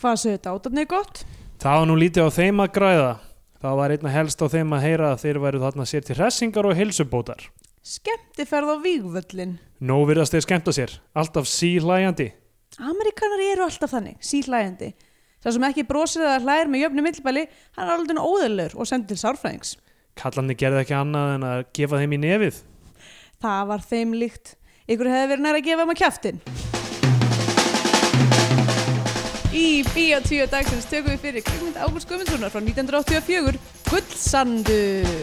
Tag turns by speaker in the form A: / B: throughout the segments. A: Hvað sögðu þetta? Átarnið er gott?
B: Það var nú lítið á þeim að græða. Það var einna helst á þeim að heyra að þeir væru þarna sér til hressingar og heilsubótar.
A: Skemmtiferð á vígvöllin.
B: Nó virðast þeir skemmta sér, alltaf síhlæjandi.
A: Amerikanar eru alltaf þannig, síðlægandi. Sá sem ekki brosir eða hlæðir með jöfnum millbæli, hann er alveg óðurlegur og sendir til sárfræðings.
B: Kallandi gerði ekki annað en að gefa þeim í nefið.
A: Það var þeim líkt. Ykkur hefði verið næra að gefa um að kjæftin. Í Bíó 10 dagsins tökum við fyrir kringmynd Ágúst Guðmundssonar frá 1984, Gullsandur.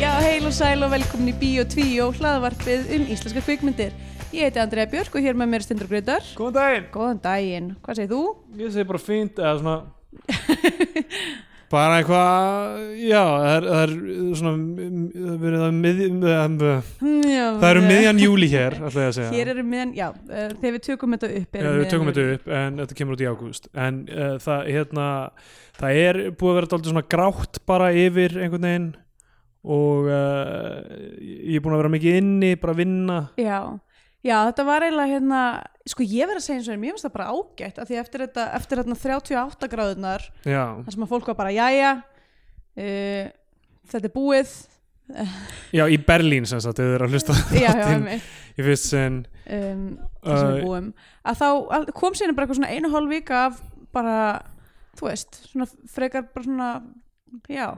A: Já, heil og sæl og velkomin í Bíó 2 hlaðvarpið um íslenska kvikmyndir. Ég heiti Andrea Björk og hér með mér er Stendur Greitar.
B: Góðan daginn!
A: Góðan daginn, hvað segir þú?
B: Ég segi bara fínt eða svona bara eitthvað já, það er, það er svona mm, það er að miðjum það
A: Já, eh,
B: eru miðjan júli hér ætla ég að segja
A: Hér eru miðjan, já, uh, þegar við tökum þetta upp
B: Já, við tökum þetta upp en þetta kemur út í ágúst en uh, það, hérna, það er búið að vera dálítið svona grátt bara yfir einhvern veginn og uh, ég er búin að vera mikið inni bara að vinna
A: Já, já, þetta var eiginlega hérna, sko ég verð að segja eins og mér finnst það bara ágætt af því eftir þetta, eftir hérna þarna 38 gráðunar
B: já,
A: þar sem að fólk var bara, jæja, uh, þetta er búið,
B: já í Berlín sem sagt, ef þið eru að hlusta á
A: já, já,
B: þáttinn
A: einmitt.
B: í fyrst sinn
A: um, það sem við
B: Æ.
A: búum að þá að kom síðan bara eitthvað svona einu og hálf vika af bara, þú veist svona frekar bara svona já,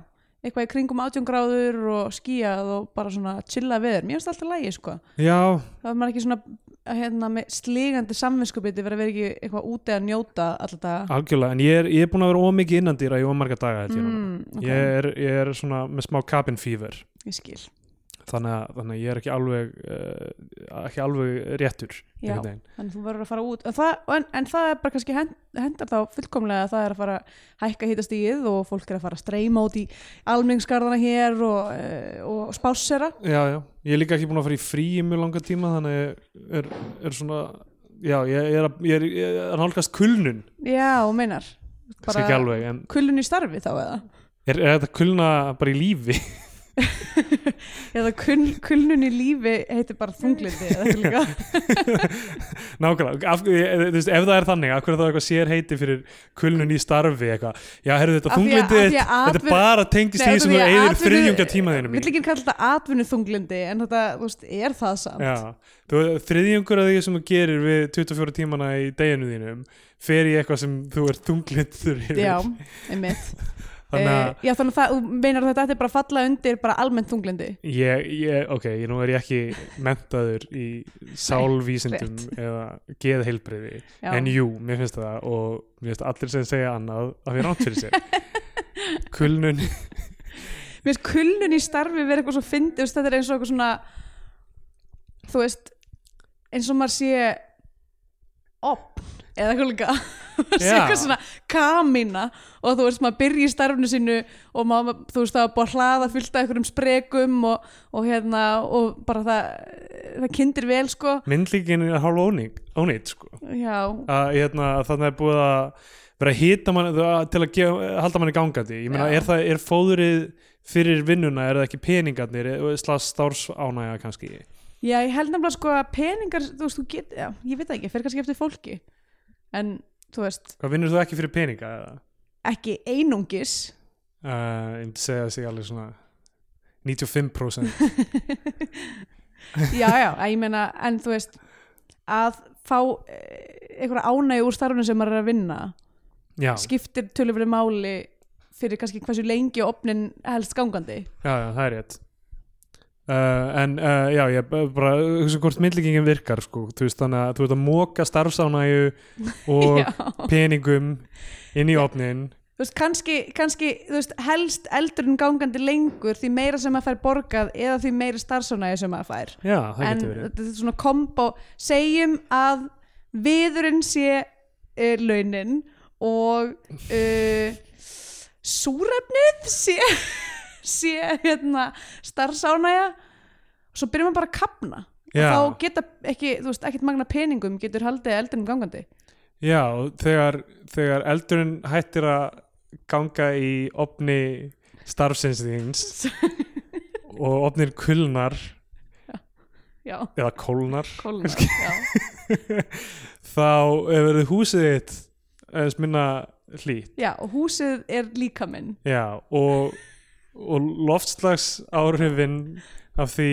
A: eitthvað í kringum átjöngráður og skýjað og bara svona chilla veður, mér finnst það alltaf lægi sko
B: já,
A: það var maður ekki svona að, hérna, með sligandi samvinskupiti verið að vera ekki eitthvað úti að njóta alltaf
B: Algjörlega, en ég er, ég er búin að vera ómikið innandýra í ómarga daga held ég núna.
A: Mm, ok,
B: Ég er, ég er svona með smá cabin fever
A: ég skil
B: þannig að, þannig að ég er ekki alveg uh, ekki alveg réttur
A: Já.
B: einhvern veginn.
A: þannig að þú verður að fara út en það, en, en það er bara kannski hend, hendar þá fullkomlega að það er að fara að hækka hittastíð og fólk er að fara að streyma út í almenningsgarðana hér og, eh, og spássera
B: já, já, ég er líka ekki búin að fara í frí í mjög langa tíma þannig að ég er, er svona já, ég er, að- ég er, ég er að nálgast kulnun
A: já, og meinar
B: kannski ekki alveg, en
A: kulun í starfi þá eða
B: er, er þetta kulna bara í lífi?
A: eða kul, kulnun í lífi heitir bara þunglindi eða eitthvað líka
B: Nákvæmlega, af, ég, þú veist, ef það er þannig af hverju það er eitthvað sér heiti fyrir kulnun í starfi eitthvað, já, herrðu þetta
A: Af því að- af
B: þunglindið
A: því
B: þitt,
A: að
B: þetta
A: atvinnu-
B: bara tengist
A: Nei,
B: því
A: út af
B: sem
A: því
B: þú
A: að
B: eigður
A: atvinnu-
B: þriðjunga tíma þínum í.
A: vill ekki kalla þetta atvinnu þunglindi en þetta, þú veist, er það samt
B: Já, þú, þriðjungur af því sem þú gerir við 24 tímana í deginu þínum fer í eitthvað sem þú er þunglindur yfir
A: já einmitt
B: þannig að
A: Eh, já, þannig að það, þú meinar að þetta ætti bara að falla undir bara almennt þunglindi
B: ég, ég, ok, ég nú er ég ekki mentaður í sálvísindum eða geðheilbreyði
A: já.
B: en jú, mér finnst það og mér finnst allir sem segja annað að við rátt fyrir sér kulnun,
A: Mér finnst kulnun í starfi verið eitthvað svo fyndið, þú veist, þetta er eins og eitthvað svona, þú veist, eins og maður sé opn eða eitthvað líka, maður sé
B: Já.
A: eitthvað svona kamina og þú veist, maður byrja í starfinu sínu og maður, þú veist, það er búið að hlaða fullt af einhverjum sprekum og, og hérna, og bara það, það kindir vel, sko,
B: myndlíkin er hálf ónýtt, ónýtt sko
A: já,
B: að hérna, þannig er búið að vera að hýta mann til að gefa, halda mann í gangandi ég meina,
A: Já.
B: er, það, er fóðrið fyrir vinnuna, er það ekki peningarnir eh, slags stársánæja kannski
A: já, ég held nefnilega sko að peningar, þú veist, þú get, já, ég veit það ekki, fer kannski eftir fólki, en, þú veist,
B: hvað vinnur þú ekki fyrir peninga eða?
A: ekki einungis,
B: Uh, ég myndi segja að segja alveg svona 95%
A: já, já, að ég meina en þú veist að fá eh, einhverja ánægju úr starfinu sem maður er að vinna
B: já, já,
A: skiptir tölufri máli fyrir kannski hversu lengi opnin helst gangandi
B: já, það er rétt Uh, en uh, já, ég bara hugsa hvort myndlíkingin virkar sko, þú veist þannig að þú ert að móka starfsánæju og
A: já.
B: peningum inn í opnin
A: þú veist, kannski, kannski þú veist, helst eldurinn gangandi lengur því meira sem maður fær borgað eða því meira starfsánægju sem maður fær
B: já, það
A: en
B: getur verið
A: þetta er svona kombo segjum að viðurinn sé uh, launin og uh, súrefnið sé, sé hérna, starfsánæja svo byrjum við bara að kapna
B: Já.
A: og þá geta ekki, þú veist, ekkert magna peningum getur haldið eldinum gangandi
B: Já, og þegar, þegar eldurinn hættir að ganga í opni starfsins þíns og opnir kulnar
A: já,
B: eða kólnar
A: kólnar já,
B: þá verður húsið þitt eða minna hlýtt
A: já, og húsið er líka minn
B: Já, og, og loftslags áhrifin af því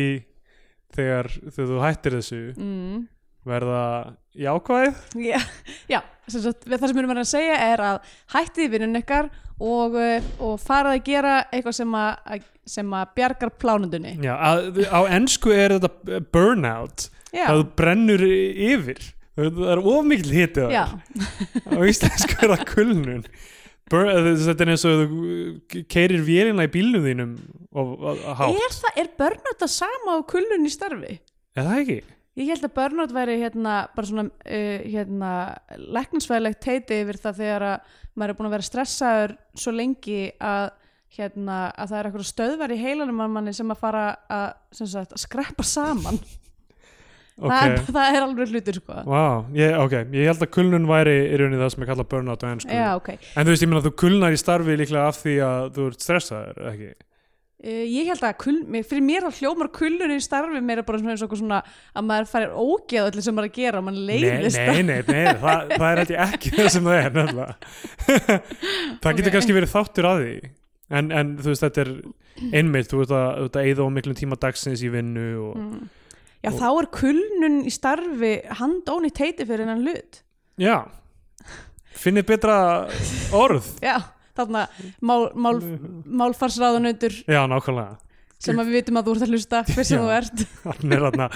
B: þegar, þegar þú hættir þessu
A: mm.
B: verða jákvæð
A: já, já, sem sagt, við- það sem við erum að segja er að hættið vinnun ykkar og, eh, og farað að gera eitthvað sem að, að- sem að bjargar plánundunni
B: Já, að, á ensku er þetta burnout
A: já,
B: það þú brennur i- yfir það er of mikil hitið
A: já,
B: á íslensku er það kulnun Bur eh, þetta er eins og þú keirir vélina í bílnum þínum og, og, og hátt,
A: er það, er börnátt að sama á kulnun í starfi?
B: er það ekki?
A: Ég held að burnout væri hérna bara svona uh, hérna læknisfæðilegt teiti yfir það þegar að maður er búin að vera stressaður svo lengi að hérna að það er eitthvað stöðvar í heilanum að manni sem að fara að, sem sagt, að skreppa saman það, er,
B: Ok,
A: það er alveg hlutur sko
B: wow, ég, ok, ég held að kulnun væri í rauninni það sem er kallað burnout á ensku
A: Já, ok.
B: En þú veist, ég meina þú kulnar í starfi líklega af því að þú ert stressaður, eða ekki?
A: Uh, ég held að kul, mér- fyrir mér að hljómar kullun í starfi meira bara svona eins og eitthvað svona að maður farir ógeð öllu sem maður er að gera og mann leiðist
B: Nei, nei, nei, nei það, það er held ég ekki það sem það er nefnilega. það getur
A: Ok.
B: kannski verið þáttur að því. En, en þú veist, þetta er einmitt, þú veist að, þú veist að eigða á miklum tíma dagsins í vinnu og
A: Mm. Já, þá er kullun í starfi handóni teiti fyrir hennan hlut
B: já, finnið betra orð.
A: Já, þarna mál, mál, málfarsráðunundur
B: Já, nákvæmlega.
A: sem að við vitum að þú ert að hlusta hver sem
B: Já.
A: þú ert
B: Hann er, atna,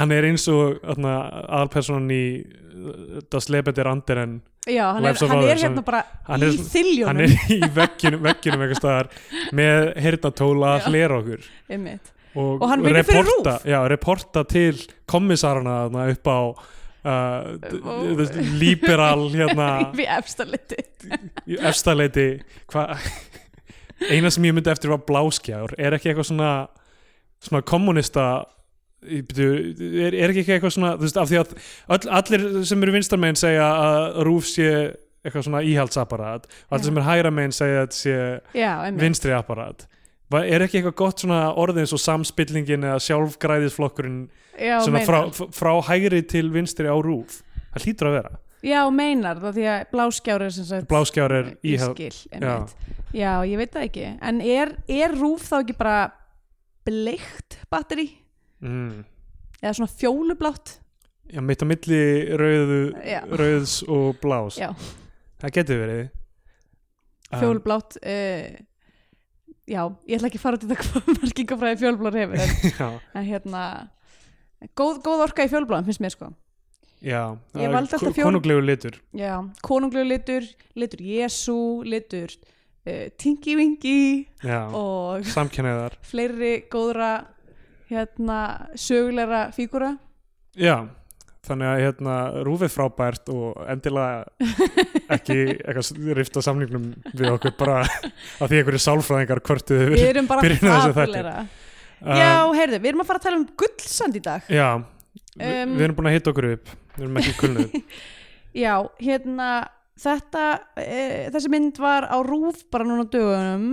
B: hann er eins og atna, aðalpersonan í uh, Das Lebet er andir en
A: Já, hann er,
B: Lives of
A: hann er
B: Others,
A: hérna bara
B: hann er-
A: í þiljónum
B: hann er í veggjunum, veggjunum eitthvað staðar með
A: Já.
B: hirtatóla að hlera okkur
A: einmitt.
B: og,
A: Og hann vinnur fyrir
B: reporta-
A: RÚV.
B: já, reporta til kommissarana þarna upp á
A: Ó.
B: uh, oh. liberal hérna
A: Við efstaleiti
B: í efstaleiti hva- eina sem ég myndi eftir var bláskjár er ekki eitthvað svona svona kommunista ég byrju, er, er ekki eitthvað svona þú veist, af því að all, allir sem eru vinstar megin segja að rúf sé eitthvað svona íhaldsaparat og allir
A: Já.
B: sem eru hægra megin segja að þetta sé
A: Já, einmitt
B: vinstri apparat Va- er ekki eitthvað gott svona orðið eins og samspillingin eða sjálfgræðisflokkurinn
A: Já,
B: svona frá,
A: meinar.
B: f- frá hægri til vinstri á rúf það hlýtur að vera
A: Já, meinar það því að bláskjári er sem sagt
B: bláskjár er íhald
A: ískil einmitt. Já. ég veit það ekki En er, er rúf þá ekki bara bleikt batteri?
B: mm.
A: Eða svona fjólublátt?
B: já, mitt á milli rauðu,
A: Já.
B: rauðs og blás
A: Já,
B: það getur verið Um,
A: fjólublátt uh, Já, ég ætla ekki að fara út í þetta hvað markingafræði fjólublátt hefur en
B: já,
A: en hérna góð, góð orka í fjólbláðum finnst mér sko
B: já,
A: Ég valdi alltaf fjól-
B: konunglegu litur
A: já, konunglegu litur, litur Jésu litur uh, Tingi Vingi
B: já,
A: og
B: samkennæðar
A: fleiri góðra hérna sögulegra fígúra
B: já, þannig að hérna, rúfið frábært og endilega ekki eitthvað rifta samningnum við okkur bara af því einhverju sálfræðingar kvörtuðu
A: við
B: yfir
A: erum bara
B: byrjum á þessu þætti.
A: fabulera
B: Um,
A: já, heyrðu, við erum að fara að tala um guldsand í dag
B: já vi,
A: Um,
B: við erum búin að hitta okkur upp við erum ekki kulnuð
A: já, hérna þetta, e, þessi mynd var á rúf bara núna á dögunum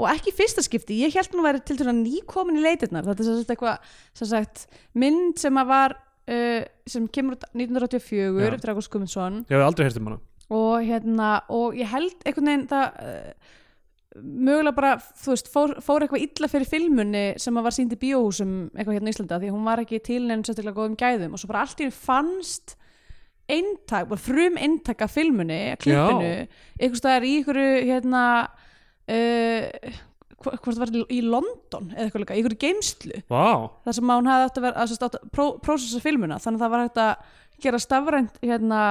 A: og ekki í fyrsta skipti, ég held nú væri til þess að nýkomin í leitirnar þetta er sem sagt eitthvað, sem sagt mynd sem að var uh, sem kemur út 1984
B: Já.
A: eftir August Gumundsson
B: ég hef aldrei hirt um hana
A: og hérna, og ég held einhvern veginn það uh, mögulega bara, þú veist, fór, fór eitthvað illa fyrir filmunni sem að var sýnd í bíóhúsum eitthvað hérna í Íslanda, því að hún var ekki til neinn sérstaklega góðum gæðum og svo bara allt í henni fannst eintak, bara frum eintak af filmunni, af klippinu einhvers staðar í einhverju hérna uh, hva- hvort það var í London eða eitthvað líka, í einhverju geimslu
B: vá,
A: þar sem að hún hafði átt að vera að, að, að pró, prósessa filmuna þannig að það var hægt að gera stafrænt hérna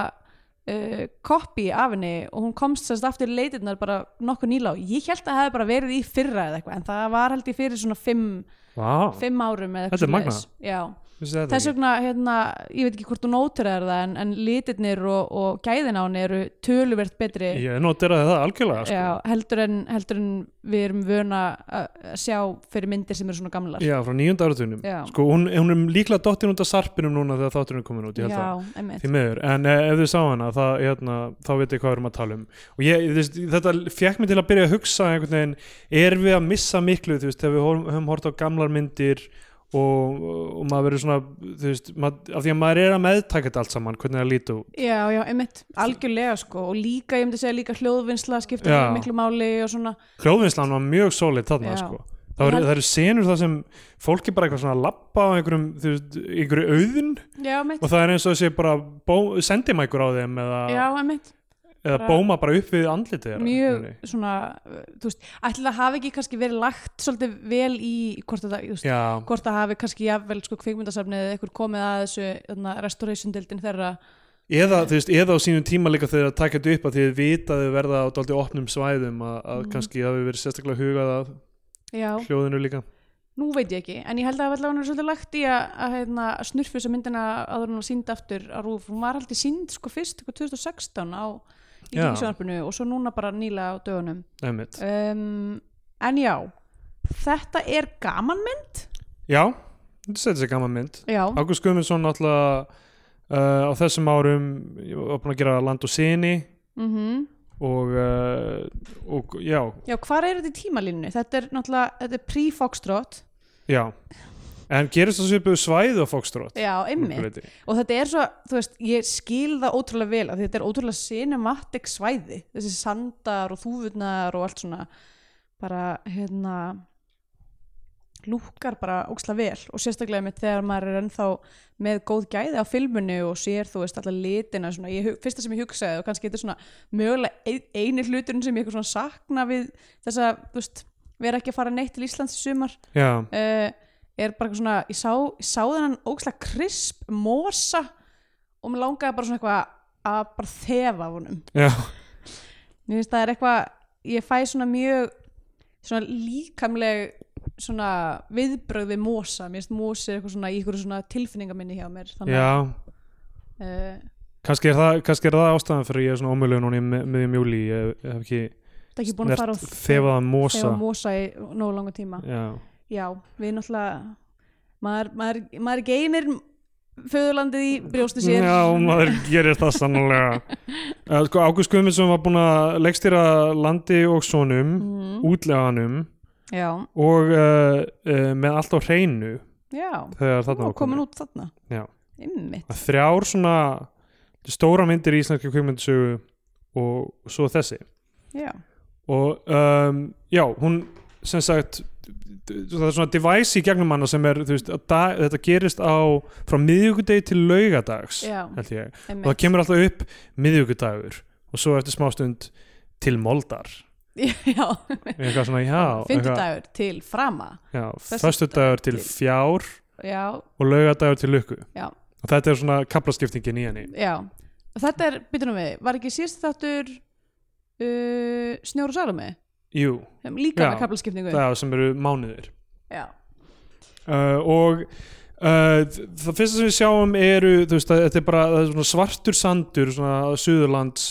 A: uh, copy af henni og hún komst sérst aftur í leitirnar bara nokkuð nýlá ég held að það hefði bara verið í fyrra eða eitthvað en það var held ég fyrir svona fimm,
B: vá.
A: fimm árum eða eitthvað
B: Þetta er
A: svoleiðis. Já
B: Vissi þetta
A: þess
B: ekki?
A: vegna, hérna, ég veit ekki hvort þú nótir það en, en litirnir og, og gæðin á henni eru töluvert betri
B: Ég noteraði það algjörlega sko.
A: já, heldur, en, heldur en við erum vöna að að sjá fyrir myndir sem eru svona gamlar
B: Já, frá nýjunda áratunum
A: Já.
B: Sko, hún, hún er líklega dottin út af sarpinum núna þegar þátturinn er komin út, ég held það
A: einmitt
B: Því miður, en eh, ef þið sá hana það, hérna, þá veit ég hvað við erum að tala um og ég, þú veist, þetta fekk mig til að byrja að hugsa einhvern veginn, er við að missa miklu þú veist, þegar við horfum- höfum hort á gamlar myndir og, og maður verður svona þú veist, mað, af því að maður er að meðtaka þetta allt saman, hvernig það lítu
A: já, já, einmitt, algjörlega sko og líka, ég myndi segja líka hljóðvinnsla skiptir
B: Já.
A: miklu máli og svona
B: hljóðvinslan var mjög sólid þarna
A: Já.
B: sko. það, var,
A: Ég held-
B: það eru senur þar sem fólk er bara eitthvað svona að lappa á einhverjum, þú veist, einhverju auðin
A: já, einmitt,
B: og það er eins og þessi bara bó, sendimækur á þeim eða,
A: já, einmitt
B: eða
A: bara-
B: bóma bara upp við andlitið þeirra,
A: mjög
B: einhvern veginn.
A: svona, uh, þú veist ætli það hafi ekki kannski verið lagt svolítið vel í hvort þetta, þú veist,
B: Já,
A: hvort það hafi kannski jafnvel sko kvikmyndasafnið eða eitthvað komið að þessu þarna, restoration deildin þeirra
B: eða, þú veist, eða á sínum tíma líka þegar það taka þetta upp að þið vita að þið verða á dálítið opnum svæðum að, að
A: Mm.
B: kannski það hefur verið sérstaklega hugað að
A: já,
B: hljóðinu líka
A: nú veit ég ekki en ég held að allavega hann er svolítið lagt í að, að hérna, snurfi sem myndina áður en hún sínd aftur á rúf, hún var aldrei sínd sko fyrst eitthvað 2016 á í
B: Já.
A: ríkisjónarpinu og svo núna bara nýlega á dögunum
B: Einmitt.
A: um, en já þetta er gaman mynd
B: Já, þetta er þessi gaman mynd
A: já,
B: Ágúst Guðmundsson náttúrulega uh, á þessum árum ég var búin að gera land og sinni
A: mhm
B: og, uh, og já,
A: Já, hvar er þetta í tímalínu? Þetta er náttúrulega, þetta er pre-Foxtrot
B: já en gerist það svipuðu svæði á Fokstrót
A: Já, einmitt Og þetta er svo, þú veist, ég skil það ótrúlega vel af því þetta er ótrúlega cinematic svæði þessi sandar og þúfurnar og allt svona bara, hérna lúkar bara óksla vel og sérstaklega mitt þegar maður er ennþá með góð gæði á filminu og sér, þú veist, alla litina svona, ég, hu- fyrsta sem ég hugsaði og kannski þetta er svona mögulega ein- eini hluturinn sem ég eitthvað svona sakna við þessa, þú veist, vera ekki að fara neitt til Íslands í sumar
B: Já,
A: uh, er bara eitthvað svona ég sá, ég sá þennan ógslag krisp mosa og mér langaði bara svona eitthvað að bara þefa af honum
B: já,
A: mér finnst það er eitthvað ég fæ svona mjög svona líkamleg svona viðbrögð við mosa mér finnst mosi er eitthvað svona í ykkur svona tilfinningaminni hjá mér
B: já
A: uh,
B: Kannski er, það, kannski er það ástæðan fyrir ég er svona ómjölu núna í mi- miðjum júli ég hef- hef ekki
A: það er ekki búin að fara og
B: þefaðan mosa
A: þefa mosa í nógu langa tíma
B: já,
A: já, við náttúrulega maður, maður, maður geymir föðurlandið í brjósti sér
B: já, maður gerir það sannlega uh, sko, Ágúst Guðmundsson var búinn að leggstýra landi og sonum
A: Mhm.
B: útleganum
A: já,
B: og uh, uh, með allt á hreinu
A: já
B: þegar þarna
A: Ó,
B: var
A: komin
B: komið
A: út þarna
B: Já.
A: Einmitt.
B: Að þrjár svona stóra myndir í íslenski kvikmyndsögu og svo þessi
A: Já.
B: og um, já, hún sem sagt það er svona device í gegnum hana sem er þú veist, að dag, þetta gerist á frá miðvikudegi til laugadags
A: Já,
B: held ég og það
A: einmitt.
B: kemur alltaf upp miðvíkudagur og svo eftir smástund til moldar
A: já.
B: eitthvað svona, já, eitthvað,
A: Fyndudagur til frama
B: já
A: föstudagur
B: föstudagur til
A: til-
B: fjár
A: já,
B: og laugadagur til lukku
A: Já.
B: og þetta er svona kaplaskiptingin í henni
A: já Og Þetta er, býtum við, var ekki síðst þáttur uh, Snjór og Salome
B: jú,
A: Sem líka
B: Já.
A: með kaplaskipningu
B: það sem eru mánuðir
A: Já,
B: uh, og uh, þ- það fyrsta sem við sjáum eru þú veist, að þetta er bara það er svona svartur sandur svona suðurlands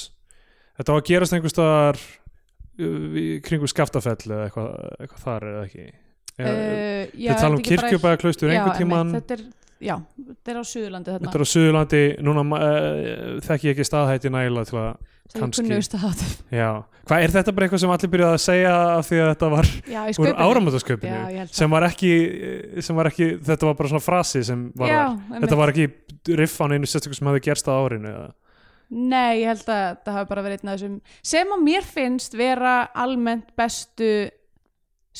B: þetta á að gerast einhvers staðar uh, í kringu skaftafell eða eitthvað, eitthvað þar er það ekki eða,
A: uh, já þetta er
B: við tala um
A: ekki bara-
B: kirkjubæða klaustur
A: Já,
B: einhvern
A: einmitt,
B: tímann
A: Þetta er, já, þetta er á Suðurlandi þarna
B: Þetta er á Suðurlandi, núna uh, þekki ég ekki staðhætti nægilega til að,
A: Þetta er
B: kannski-
A: kunnugust að það
B: já, hvað er þetta bara eitthvað sem allir byrjaði að segja af því að þetta var
A: Já, í
B: úr
A: sköpunni Já,
B: áramöndasköpinu
A: ég held
B: sem var ekki, sem var ekki þetta var bara svona frasi sem var
A: Já,
B: þar.
A: einmitt.
B: þetta var ekki riff á neinu sérstökum sem hafði gerst á árinu eða.
A: Nei, ég held að það hafi bara verið einn af þessum sem að mér finnst vera almennt bestu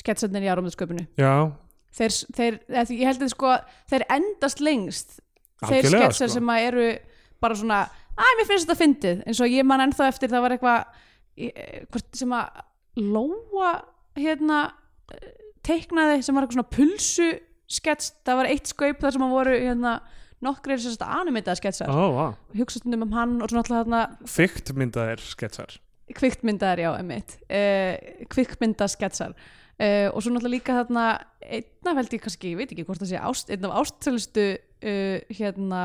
A: sketsarnir í áramöndasköpunu
B: já,
A: þeir, þeir, eða því- ég held að sko, þeir endast lengst þeir
B: Algjörlega,
A: sketsar
B: sko.
A: sem að eru bara svona æ, mér finnst þetta fyndið, eins og ég man ennþá eftir það var eitthvað eh, hvort sem að lóa hérna eh, teiknaði sem var eitthvað svona pulsu skets það var eitt skaup þar sem að voru hérna nokkrir sérst animitaða sketsar
B: ó,
A: oh.
B: vá
A: hugsaðum um hann og svona alltaf þarna
B: fyrkt myndaðir sketsar
A: kvikmyndar, já, emitt uh, kvikmyndasketsar Eh, uh, og svo náttúrulega líka þarna einna held ég kannski, ég veit ekki hvort það sé ást, einn af ástælustu uh, hérna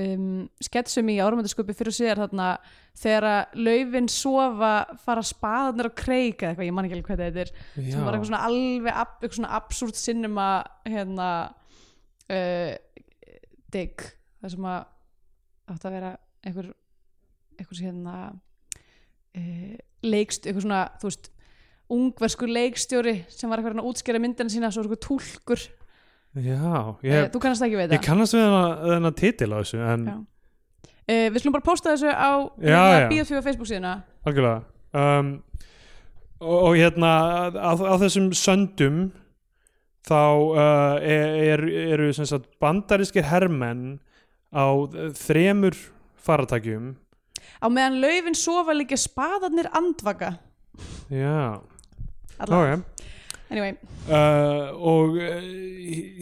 A: um, sketsum í áramöndasköpi fyrir og síðar þarna þegar að laufin sofa fara spaðarnir á kreik eða eitthvað, ég man ekki alveg hvað þetta er
B: já,
A: sem var eitthvað svona alveg ab, eitthvað svona absúrt sinnum að hérna uh, digg það sem að átt að vera einhver einhvers hérna uh, leikst, eitthvað svona þú veist, ungverskur leikstjóri sem var eitthvað hérna að útskýra myndina sína svo eitthvað túlkur,
B: já
A: yeah.
B: ég,
A: þú kannast ekki við
B: ég
A: það
B: kannast við þennan- þennan titil á þessu en
A: Já. uh, við slum bara posta þessu á
B: Já, já.
A: Bíotvíu Facebook síðuna
B: algjörlega um, og, og hérna á, á þessum söndum þá uh, er, er, eru sem sagt bandarískir hermenn á þremur faratækjum
A: á meðan laufin sofa líka spaðarnir andvaka
B: já,
A: Alla.
B: ok
A: anyway,
B: uh, og uh,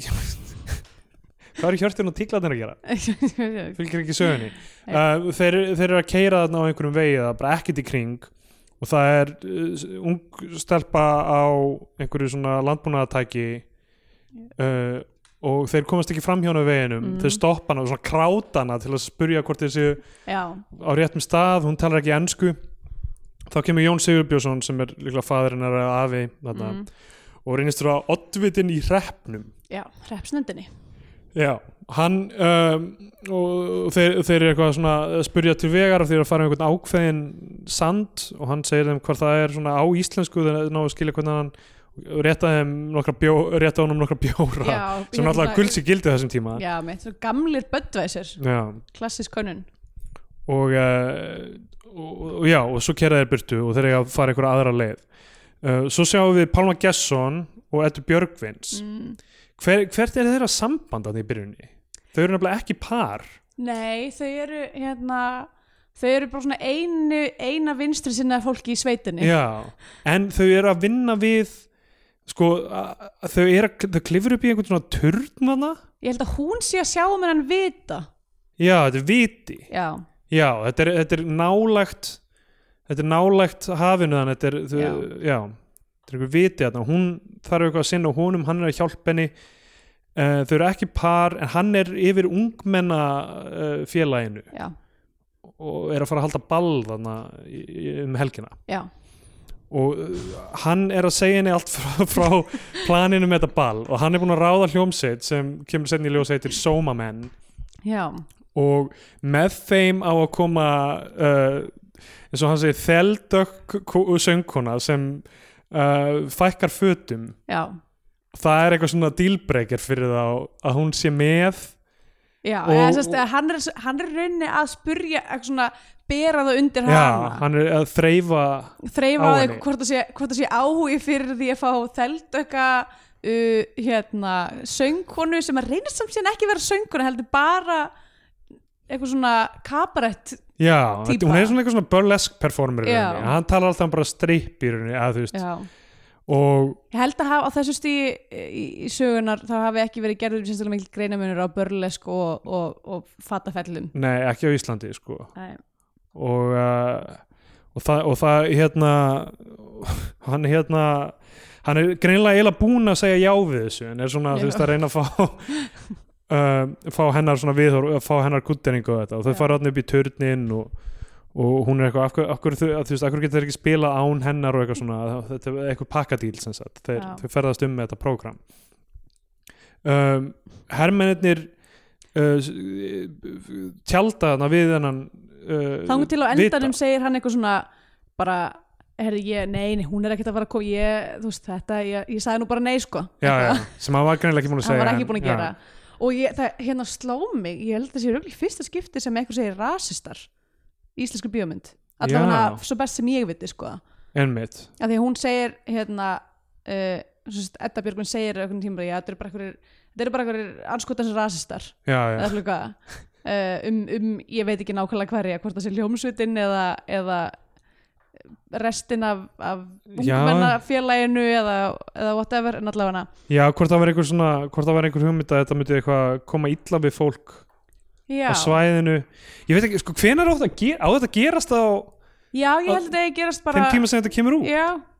B: hvað er hjörtun og tíklarnir að gera? fylgir ekki sögunni uh, þeir, þeir eru að keira þarna á einhverjum vegi það er bara ekkert í kring og það er uh, ung stelpa á einhverju svona landbúnaðatæki uh, og þeir komast ekki fram hjá hana á veginum
A: Mm.
B: þeir stoppa hana og svona kráta hana til að spurja hvort þeir séu
A: já
B: á réttum stað hún talar ekki ensku þá kemur Jón Sigurbjörnsson sem er líklega faðurinn að afi þarna,
A: mm.
B: og reynist þú að oddvitin í hreppnum
A: já, hreppsnefndinni
B: Já, hann um, og þeir, þeir eru eitthvað svona að spurja til vegar og þeir eru að fara um einhvern ákveðin sand og hann segir þeim hvað það er svona á íslensku þeir náðu að skilja hvernig hann rétta þeim nokkra bjó, rétta honum nokkra bjóra
A: já,
B: sem náttúrulega gulsi gildi þessum tíma
A: já, mitt, svo gamlir böddvæsir
B: Já,
A: klassisk könnun
B: og, uh, og, og já, og svo kera þeir burtu og þeir eru að fara einhverja aðra leið uh, Svo sjáum við Palma Gesson og Eddu Björgvins
A: mm.
B: Hver, Hvert er þeirra samband að í byrjunni? Þau eru nefnilega ekki par
A: nei, þau eru hérna þau eru bara svona einu, eina vinstri sinna fólki í sveitinni
B: Já, en þau eru að vinna við sko, a- a- þau eru að þau klifur upp í einhvern svona turnana
A: ég held að hún sé að sjá um hennan vita
B: Já, þetta er viti
A: já,
B: Já, þetta er, þetta er nálægt þetta er nálægt hafinu þannig þetta er, þau, já.
A: Já.
B: þetta er einhver viti þarna hún þarf eitthvað að sinna húnum, hann er að hjálpa henni Uh, þau eru ekki par en hann er yfir ungmenna uh, félaginu
A: já,
B: og er að fara að halda ball þarna í, í- um helgina
A: já
B: og uh, hann er að segja henni allt frá, frá planinu með þetta ball og hann er búin að ráða hljómsveit sem kemur setni í ljós heitir Soma Menn
A: já,
B: og með þeim á að koma uh, eins og hann segir þeldökk kú- söngkona sem uh, fækkar fötum
A: já,
B: það er eitthvað svona dealbreaker fyrir þá að hún sé með
A: já
B: Og-
A: eða, sest, hann, er, hann er rauninni að spurja eitthvað svona bera það undir
B: já,
A: hana
B: hann er að þreyfa
A: þreifa
B: á
A: á þig
B: henni.
A: hvort það sé, hvort það sé áhugi fyrir því að fá þeldöka uh, hérna, söngkonu sem að reynir samt síðan ekki að vera söngkonu heldur bara eitthvað svona kabarett
B: já,
A: Típa.
B: hún er svona eitthvað svona burlesk performer í
A: Já.
B: rauninni. hann talar alltaf um bara stripp í rauninni að, þú veist,
A: Já.
B: og
A: ég held að hafa á þessu stíi í, í sögunar þá hafi ekki verið gerður sérstaklega mikil greinamunur á börlesk og, og, og fatafellum
B: Nei, ekki á Íslandi sko.
A: Nei.
B: og, uh, og, það, og það hérna hann hérna hann er greinilega eiginlega búinn að segja já við þessu en er svona,
A: Já.
B: þú veist, að reyna að fá uh, fá hennar svona viðhor að fá hennar kutteringu og þetta og þau
A: Já.
B: fara hann upp í turnin og, og hún er eitthvað, af hverju- af hverju þau- þú veist, af hverju getur þeir ekki spila án hennar og eitthvað svona, þetta er eitthvað pakkadíl sem sagt, þeir,
A: Já.
B: þau ferðast um með þetta prógram um, hermennir uh, s- tjálta þarna við hennan uh,
A: þá til á
B: vita.
A: endanum segir hann eitthvað svona bara, herri ég, nei, nei hún er ekkert að fara að koma ég, þú veist, þetta, ég, ég sagði nú bara nei sko
B: já, já, sem hann var greinilega ekki búin að
A: hann
B: segja
A: var ekki
B: en-
A: búin að
B: já.
A: gera og ég, það hérna sló mig ég held að það sé röglega fyrsta skipti sem einhver segir rasistar í íslensku bíómynd
B: Já.
A: allavega hana svo best sem ég viti sko að
B: Einmitt,
A: því að hún segir hérna uh, sest, Edda Björgun segir einhvern tíma já, þetta eru bara einhverjir þetta eru bara einhverjir anskotans rasistar
B: já,
A: eða
B: já,
A: hluka uh, um, um, ég veit ekki nákvæmlega hverja hvort það sé hljómsveitin eða, eða restin af, af
B: Já.
A: ungmennafélaginu eða, eða whatever en allavega hana
B: já, hvort það var einhver svona hvort það var einhver hugmynd að þetta myndi eitthvað koma illa við fólk
A: já,
B: á svæðinu ég veit ekki, sko, hvenær á þetta að gera, á þetta að gerast á
A: já ég held að þetta eigi að gerast bara
B: þeim tíma sem þetta kemur út
A: Já,
B: Það-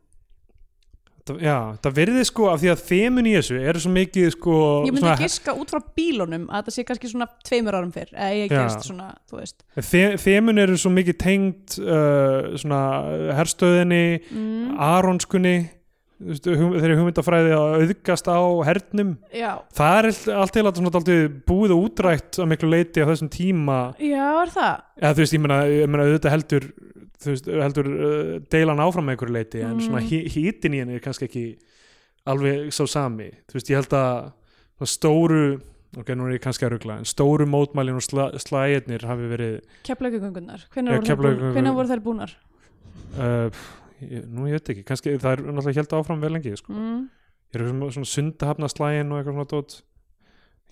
B: Já, það verði sko af því að þemun í þessu eru svo mikið sko
A: ég myndi
B: svona-
A: að giska út frá bílunum að þetta sé kannski svona tveimur árum fyrr eða ég
B: Já.
A: gerist svona, þú veist
B: Þe- Þemun eru svo mikið tengd uh, svona herstöðinni
A: mm,
B: Aronskunni þú veist, hugm- þeirri hugmyndafræði að auðgast á hernum
A: já,
B: það er allt- allt til að svona dálítið búið og útrætt að miklu leiti á þessum tíma
A: já, er það
B: eða þú veist, ég meina, ég meina auðvitað heldur þú veist, heldur uh, deilan áfram með einhverju leiti en
A: Mm.
B: svona hí- hítin í henni er kannski ekki alveg sá sami þú veist, ég held að svona stóru ok, nú er ég kannski að rugla en stóru mótmælin og sla, slæðirnir hafi verið
A: Keflaugugöngunar,
B: Já,
A: hvenær voru þær búnar-
B: Keflavíkurgöngur-
A: hvenær voru þær búnar?
B: uh, pff, ég, nú ég veit ekki, kannski það er náttúrulega held áfram vel lengi sko.
A: Mm.
B: Ég er svona, svona sundahafna slægin og eitthvað svona dót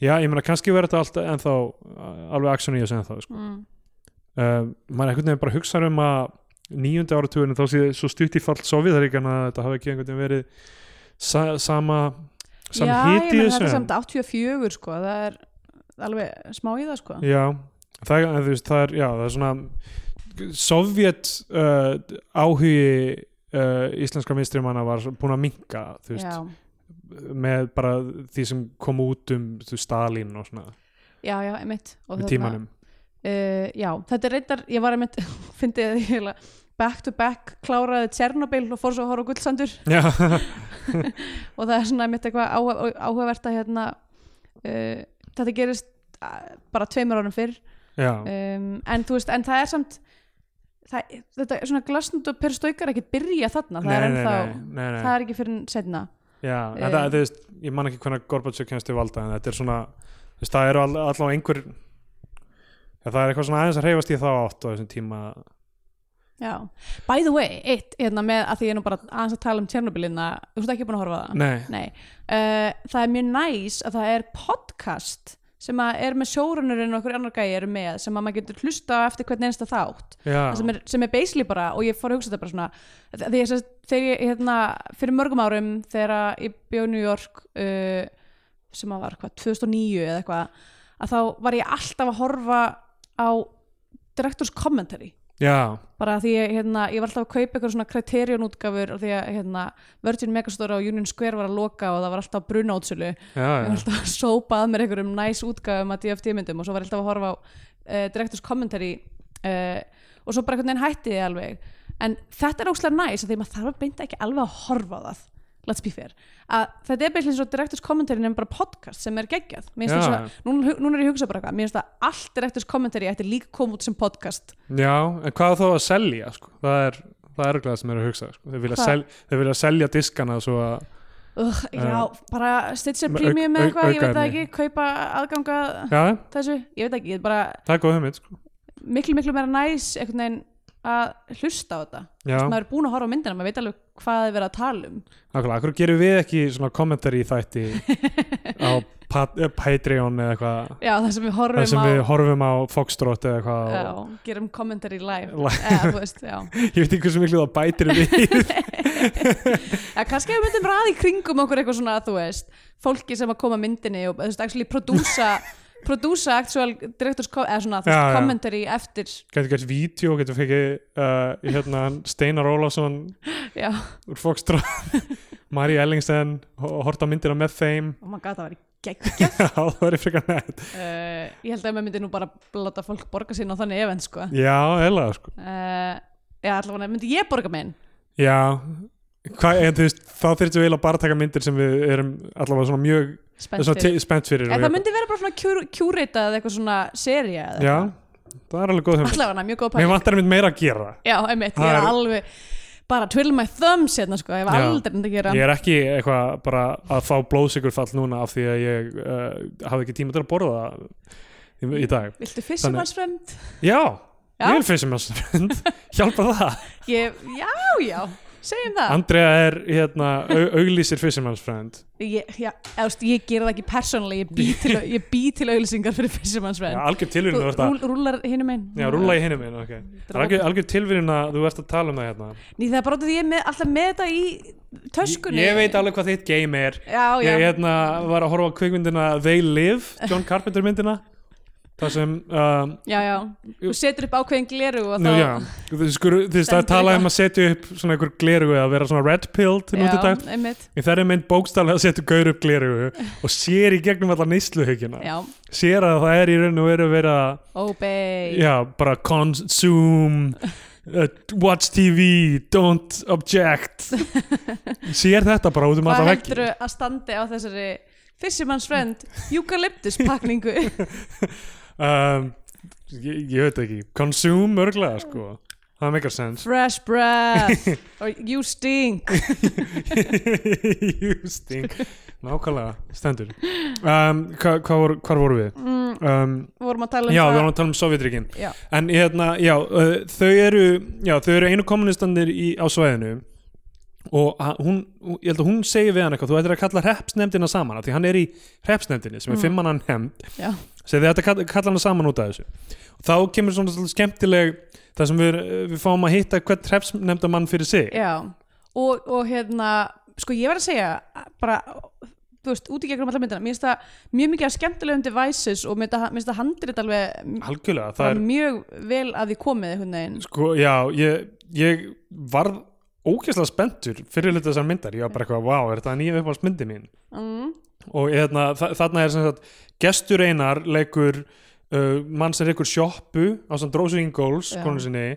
B: Já, ég meina kannski verður þetta alltaf ennþá uh, alveg action í þessu ennþá sko.
A: Mm.
B: uh, maður einhvern veginn bara hugsa um að níundi áratugurinn þá sé svo stutt í fall Sovjetharíkana að þetta hafi ekki einhvern veginn verið sa sama sam
A: já, ég
B: hiti í
A: meina
B: þessu
A: þetta er
B: en-
A: samt 84 sko, það er alveg smá í það sko
B: Já, það, er- en þú veist, það er, já, það er svona Sovjet uh, áhugi uh, íslenska mistrimanna var búin að minka þú veist,
A: já,
B: með bara því sem kom út um þú, veist, Stalin og svona
A: já, já, emitt
B: með tímanum
A: uh, já, þetta er reyndar, ég var emitt fyndið að ég heila back to back kláraði Tjernobyl og fór svo að horfa á gullsandur
B: Já,
A: og það er svona emitt eitthvað áhuga- áhugavert að hérna uh, þetta gerist uh, bara tveimur árum fyrr
B: já,
A: um, en þú veist, en það er samt það, þetta er svona glasnund og perstaukar ekkert byrja þarna, það er
B: nei,
A: ennþá
B: nei, nei,
A: það er ekki fyrir setna
B: já,
A: eh,
B: þetta, þú veist, ég man ekki hvernig Gorbachev kemst til valda en þetta er svona, þú veist, það eru all, allavega einhver ja, það er eitthvað svona aðeins að hreyfast í þá átt á þessum tíma
A: Já, by the way, eitt hérna með að því ég er nú bara aðeins að tala um Tjernobylina þú veist ekki búin að horfa á það
B: Nei,
A: Uh, það er mjög næs að það er podcast sem að er með sjórunurinn og okkur annar gæi eru með sem að maður getur hlusta á eftir hvern einsta þátt
B: já,
A: sem er, sem er basically bara, og ég fór að hugsa þetta bara svona þegar ég, sem sagt- þegar ég hérna, fyrir mörgum árum þegar að ég bjóð New York uh, sem að var hvað, 2009 eða eitthvað að þá var ég alltaf að horfa á directors commentary
B: já,
A: bara af því ég, hérna, ég var alltaf að kaupa eitthvað svona kriterjón útgafur því að hérna, Virgin Megastore og Union Square var að loka og það var alltaf brunótsölu ég
B: já,
A: var
B: já,
A: alltaf að sópa að mér einhverjum næs útgafum að DFT myndum og svo var ég alltaf að horfa á uh, Directors Commentary uh, og svo bara einhvern veginn hætti ég alveg en þetta er óslega næs af því maður þarf að beinta ekki alveg að horfa á það let's be fair að þetta er beinlega eins og Directors Commentary nefnum bara podcast sem er geggjað Mér finnst
B: Já.
A: það svo- núna núna er ég að hugsa bara eitthvað mér finnst að allt Directors Commentary ætti líka að koma út sem podcast
B: já en hvað þá að selja, sko, það er það er glæð sem er að hugsa, sko, þeir vilja,
A: Hvað?
B: sel, þeir vilja selja diskana svo að,
A: Ugh, já, bara Stitcher
B: með
A: Premium
B: auk-
A: eða eitthvað, ég veit það
B: aukaefni.
A: ekki, kaupa aðganga
B: já,
A: þessu, ég veit ekki, ég er bara
B: það er góð hugmynd, sko
A: miklu, miklu meira næs einhvern veginn að hlusta á þetta
B: Já,
A: maður er búin að horfa á myndina, maður veit alveg hvað er verið að tala um
B: nákvæmlega, akkur gerum við ekki svona kommentari í þætti á Pat- eh, Patreon eða eitthvað
A: já, það sem við horfum
B: þar sem
A: á
B: við horfum á Foxtrot eða eitthvað
A: já,
B: og,
A: gerum commentary live
B: Live.
A: eða, þú veist, já.
B: ég veit ekki hversu miklu það bætir við
A: já, kannski ef við myndum ræði kringum okkur eitthvað svona, þú veist fólki sem að koma að myndinni og, þú veist, actually produsa produsa actual directors co- eða svona, þú
B: Já,
A: veist,
B: já.
A: commentary eftir,
B: getur gert vídeo, getur fekið uh, hérna, hann Steinar Ólafsson
A: já,
B: úr Foxtrot Mari Ellingsen og horta myndir á með þeim
A: og maður gata að vera gegn
B: Já, það er frekar nætt
A: Uh, ég held að maður myndi nú bara láta fólk borga sín á þannig event sko uh,
B: já, eiginlega sko
A: Já, allavega myndi ég borga minn
B: já, Hva, en, þú veist, þá þyrftum við eiginlega bara að taka myndir sem við erum allavega svona mjög svona
A: Spenntur
B: te- spennt fyrir
A: En það myndi vera bara svona kjúrita eða eitthvað svona seria eða
B: já,
A: eitthvað.
B: það er alveg góð hugmynd
A: Allavega mjög góð
B: mér
A: pæl
B: vantar einmitt meira að gera
A: Já, einmitt,
B: Það
A: ég er
B: er-
A: alveg bara twiddle my thumbs hérna sko, ég hef
B: Já.
A: aldrei nefnd að gera
B: Ég er ekki eitthvað bara að fá blóðsygurfall núna af því að ég uh, hafi ekki tíma til að borða í, í dag.
A: Viltu fissum
B: Þannig-
A: hans fremd?
B: Já,
A: Já.
B: ég vil fyrst með strönd, hjálpa það.
A: Ég, já, já, segjum það
B: Andrea er hérna, au- auglýsir fyrstumannsfrænd.
A: ég, já, eða, þú veist, ég gera það ekki persónulega ég bý til, ég bý til auðlýsingar fyrir fissum hans
B: Já,
A: fremd
B: algjör tilvíðin þú ert að...
A: Rúlar hinum einn
B: Já, rúla í hinum minn, ok. Það er algjör, algjör tilvíðin að þú ert að tala um það hérna.
A: Ný, það er bara út af því ég er með, alltaf með þetta í töskunni.
B: Ég, ég veit alveg hvað þitt game er.
A: Já, já.
B: Ég hérna, var að horfa á kvikmyndina They Live, John Carpenter myndina. það sem um,
A: já, já, þú setur upp ákveðin gleru og þá
B: nú, já, þú skur- þú veist það er
A: stendur
B: talað
A: eitthvað.
B: um að setja upp svona einhver glerugu að vera svona red pilled nú til dag
A: einmitt
B: í þeirri mynd bókstælega að setja gaur upp glerugu og sér í gegnum alla neysluhyggjuna
A: já,
B: sér að það er í raun og veru að vera
A: obey
B: já, bara consume uh, watch TV don't object sér þetta bara út um
A: hvað
B: alla veggi
A: heldur að standi á þessari Fisherman's Friend, eukalyptus pakningu
B: um, ég, ég veit ekki consume örglega sko það meikar sens
A: fresh breath or you stink
B: you stink nákvæmlega, stendur um, hva, hva voru, hvar voru við
A: mm,
B: um,
A: vorum að tala um
B: já, við
A: það
B: vorum að tala um Sovjetríkin
A: Já.
B: en hérna, já, uh, þau eru já, þau eru einu kommunistandir í, á svæðinu og ha- hún, hún- ég held að hún segir við hann eitthvað, þú ættir að kalla hreppsnefndina saman af því hann er í hreppsnefndinni sem er
A: Mm.
B: mm. fimmannan hemmt
A: já,
B: sem þið ætti að kalla, kalla hana saman út af þessu og þá kemur svona svolítið skemmtileg þar sem við, við fáum að hitta hvert trefsnefnda mann fyrir sig
A: já. Og, og hérna sko ég verð að segja bara þú veist, út í gegnum allar myndina mér finnst það mjög mikið af skemmtilegum devices og mér finnst það handrit alveg m-
B: algjörlega, það
A: bara
B: er
A: mjög vel að því komið einhvern veginn.
B: sko, já, ég, ég varð ókesslega spenntur fyrir hlutu þessar myndar, ég var bara eitthvað, vá, er þetta nýja upp á smyndi mín
A: mm,
B: og hérna, þa þarna er sem sagt gestur einar leikur uh, mann sem leikur sjoppu á sem Drósu Ingols,
A: Já.
B: konu sinni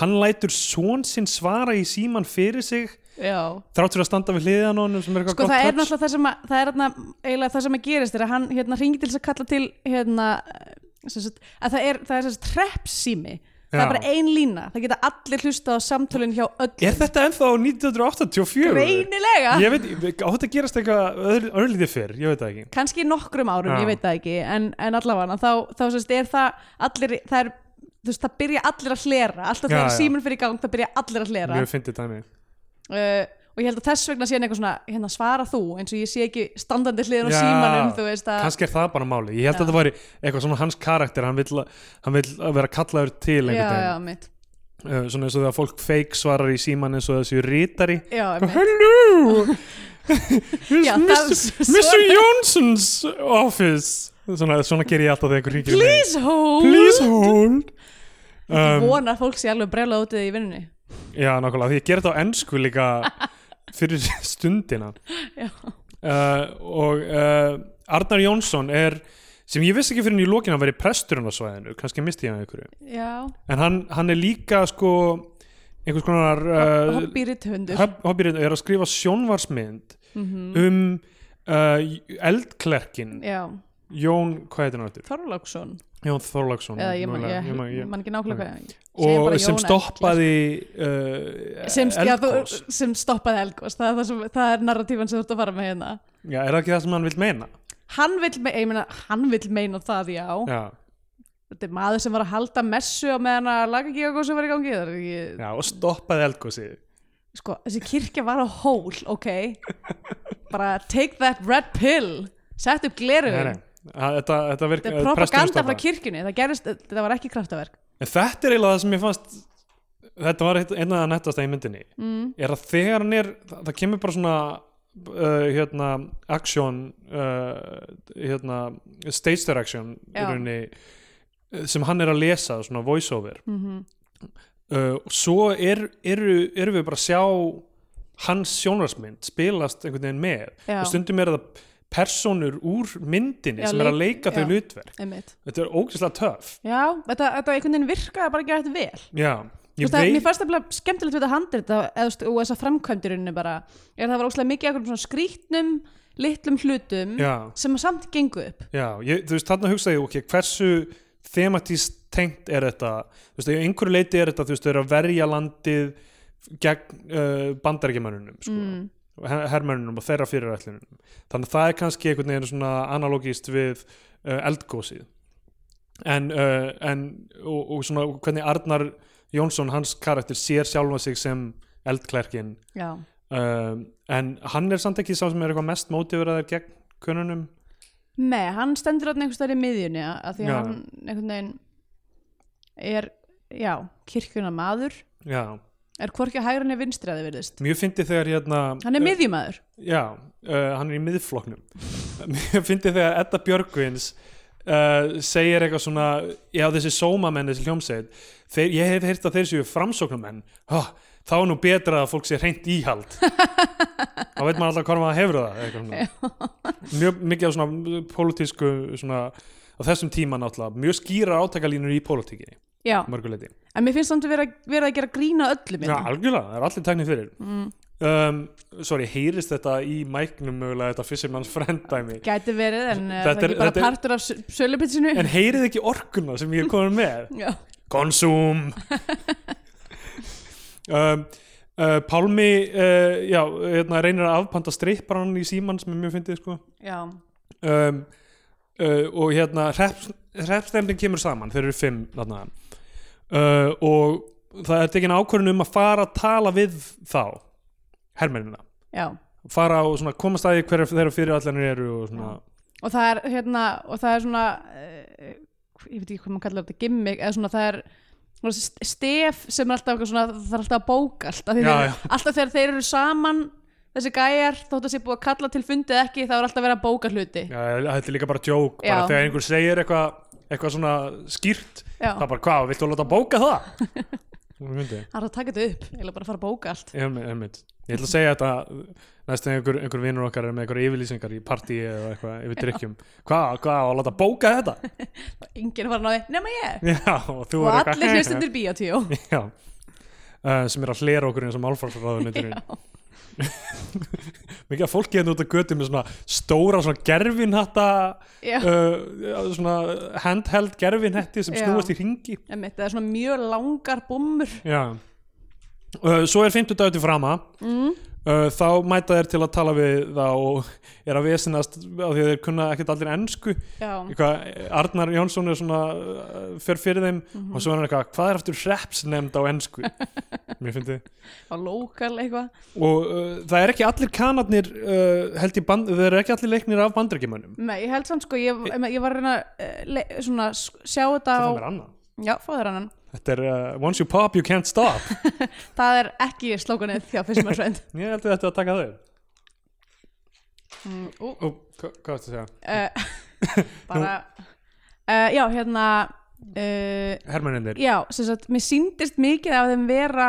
B: hann lætur són sinn svara í síman fyrir sig
A: já
B: þrátt fyrir að standa við hliðan honum sem er eitthvað
A: sko
B: gott
A: það er
B: touch.
A: náttúrulega það sem að það er þarna, eiginlega það sem að gerist er að hann hérna ringi til þess að kalla til hérna sem sagt, að það er, það er sem sagt treppsými það
B: Já.
A: er bara ein lína, það geta allir hlusta á samtölun hjá öll
B: Er þetta ennþá 1984?
A: greinilega
B: Ég veit, á þetta gerast eitthvað öðru- örlítið fyrr, ég veit það ekki
A: kannski nokkrum árum,
B: Já.
A: ég veit það ekki en, en allavega, þá, þá sem sagt, er það allir, það er, þú veist, það byrja allir að hlera alltaf
B: Já,
A: þegar
B: já.
A: síminn fyrir í gang, það byrja allir að hlera
B: Mjög fyndið dæmi
A: uh, og ég held að þess vegna sé hann eitthvað svona hérna svara þú, eins og ég sé ekki standandi hliðin á
B: Já.
A: símanum, þú veist að
B: Kannski er það bara máli, ég held
A: Já.
B: að þetta væri eitthvað svona hans karakter Hann vill, hann vill að vera kallaður til
A: já,
B: einhvern
A: já,
B: veginn
A: mitt
B: Uh, Svona eins og þegar fólk fake svarar í síman eins og þessu rítari
A: já, mitt
B: Hello It's
A: Já, það-
B: Mr. Mr. Jónsons office Svona, svona ger ég alltaf þegar einhver ríkir
A: Please hold
B: Please hold
A: Ég
B: um,
A: vonar að fólk sé alveg brjálað út í því í vinnunni
B: Já, nákvæmlega, því ég ger þetta á ennsku líka fyrir stundina
A: Já.
B: uh, og uh, Arnar Jónsson er sem ég vissi ekki fyrir en í lokin að veri presturinn á svæðinu, kannski misti ég hann einhverju
A: Já,
B: en hann, hann er líka sko einhvers konar
A: uh,
B: uh,
A: hobby rithundur
B: hobbyrinn er að skrifa sjónvarsmynd
A: mm
B: um uh, eldklerkin
A: Já,
B: Jón, hvað heitir hann aftur?
A: Þorláksson
B: Jón Þorláksson
A: Eða ég man, ég,
B: ég man- ég-
A: man ekki nákvæmlega hvað Segir
B: og
A: bara
B: sem
A: Jón
B: stoppaði uh,
A: sem, já, þú,
B: eldgos
A: sem stoppaði Elgos það er, það, sem, það er narratífan sem þú ert að fara með hérna
B: Já, er það ekki það sem hann vil meina?
A: Hann vill, me ég meina, hann vill meina það, já.
B: Já,
A: Þetta er maður sem var að halda messu á meðan að lagagíðagóð sem var í gangi. Það er ekki,
B: já og stoppaði eldgosið
A: sko, þessi kirkja var á hól, ok? Bara take that red pill, sett upp gleruðin.
B: Nei, nei. Það- Þetta, þetta virka
A: þetta er propaganda frá kirkjunni það gerist, þetta var ekki kraftaverk
B: En þetta er eiginlega það sem ég fannst Þetta var eitt- einn af það nettast í myndinni mm. Er að þegar hann er Það, það kemur bara svona uh, hérna, action uh, hérna, stage direction
A: Já.
B: runni, sem hann er að lesa svona voiceover mm
A: Mhm.
B: uh, og svo er, eru, eru við bara að sjá hans sjónarsmynd spilast einhvern veginn með
A: Já.
B: og stundum er það personur úr myndinni
A: Já,
B: sem er að
A: leik-
B: leika þau
A: já.
B: hlutverk
A: einmitt.
B: Þetta er ógeðslega töff
A: já, þetta, þetta einhvern veginn virkaði bara ekki hægt vel
B: Já,
A: Þú
B: ég
A: veist, það,
B: veit
A: mér fannst það bara skemmtilegt við þetta handrit og þess að framkvæmdirunni bara er það var óslega mikið af einhverjum svona skrítnum litlum hlutum
B: já,
A: sem að samt gengu upp
B: já, ég, þú veist, þarna hugsaði ég, ok, hversu thematist tengt er þetta þú veist, ef einhverju leiti er þetta, þú veist, þau eru að verja landið gegn uh, bandarækjamönnunum sko,
A: Mm.
B: her hermönnunum og þeirra fyrirætlunum þannig að það er kannski einhvern veginn svona analogist við uh, eldgósið en, uh, en og, og svona hvernig Arnar Jónsson, hans karakter, sér sjálfa sig sem eldklerkin
A: já,
B: um, en hann er samt ekki sá sem er eitthvað mest mótiveraður gegn kununum
A: nei, hann stendur átni einhvers staðar í miðjunni að því
B: Já.
A: að hann einhvern veginn er, já, kirkjuna maður
B: já,
A: er hvorki að hægra henni vinstri að þið virðist
B: mjög fyndi þegar hérna eh,
A: hann er miðjumadur
B: já, uh, hann er í miðfloknum mjög fyndi þegar Edda Björgvins uh, segir eitthvað svona já þessi sómamenn, þessi hljómsveit þeir, ég hef heyrt að þeir séu framsóknumenn oh, þá er nú betra að fólk sé reynd íhald þá veit maður alltaf hvað maður hefur það eitthvað svona. mjög mikið af svona pólitísku svona, á þessum tíma náttúrulega, mjög skýra átakalínur í pólitíkinni,
A: já,
B: mörguleiti
A: en mér finnst samt að vera, vera að gera grína öllum
B: Já,
A: hérna.
B: algjörlega, það er allir teknir fyrir mm. um, Sorry, heyrist þetta í mæknum mögulega þetta Fisherman's Friend dæmi
A: gæti verið en uh,
B: Þetta
A: það er
B: er-
A: ekki bara
B: þetta er-
A: partur af sölupitsinu
B: En heyrið ekki orkuna sem ég er komin með
A: já,
B: Konsum um, uh, Pálmi uh, já, hérna, reynir að afpanta stripparann í símann sem er mjög fyndið sko.
A: já,
B: um, uh, og hérna hreppstæmdin kemur saman, þeir eru fimm þarna uh, og það er tekin ákvörðin um að fara að tala við þá hermennina
A: já
B: fara og svona komast að því hverja þeirra fyrirallanir eru og svona
A: Mm. og það er hérna og það er svona uh, ég veit ekki hvað maður kallar þetta gimmick eða svona það er svona st- stef sem er alltaf eitthvað svona það er alltaf að bóka allt af því
B: Já,
A: þeir,
B: já.
A: alltaf þegar þeir eru saman þessi gæjar þótt að sé búið að kalla til fundið ekki þá er alltaf að vera að bóka hluti
B: já, þetta er líka bara djók, bara
A: Já.
B: þegar einhver segir eitthvað eitthvað svona skýrt
A: Já.
B: það er bara hvað, viltu að láta bóka það? Hún myndi,
A: það er að taka þetta upp, eiginlega bara að fara að bóka allt
B: ég mynd ég ætla að segja þetta næst þegar einhver, einhver vinnur okkar er með einhver yfirlýsingar í partíi eða eitthvað yfir drikkjum hvað, hvað, á að láta bóka þetta?
A: enginn var náði, nema ég
B: já, og þú
A: og
B: er
A: allir hlustundir bíotíó
B: já, uh, sem er að hlera okkur eins og málfarsráðunitinu mikið að fólki hérna út á götu með svona stóra svona gerfinhatta
A: Já.
B: uh, svona handheld gerfinhetti sem
A: Já.
B: snúast í ringi
A: Einmitt, það er svona mjög langar búmur
B: Já. Uh, svo er 50 dagur til frama mm. uh, þá mæta þeir til að tala við þá og er að vesinast á því að þeir kunna ekkert allir ennsku
A: já,
B: eitthvað, Arnar Jónsson er svona uh, fer fyrir þeim og svo er hann eitthvað hvað er aftur hreps nefnd á ennsku mér finnst þið
A: á lokal eitthvað
B: og uh, það er ekki allir kanadnir uh, held ég band, þeir eru ekki allir leiknir af bandrækjumönnum
A: Nei, ég held samt sko, ég, ég var að reyna að eh, le- svona, s- sjá þetta á
B: það er mér annað
A: Já, fáður annan.
B: Þetta er uh, Once you pop, you can't stop
A: Það er ekki slókunið því að fyrst maður svend.
B: Ég held að þetta að taka þau
A: Ú,
B: Ó, hva- Hvað varstu að segja?
A: uh, bara, uh, já, hérna, uh,
B: Hermennindir
A: já, sem sagt, mér síndist mikið af þeim vera,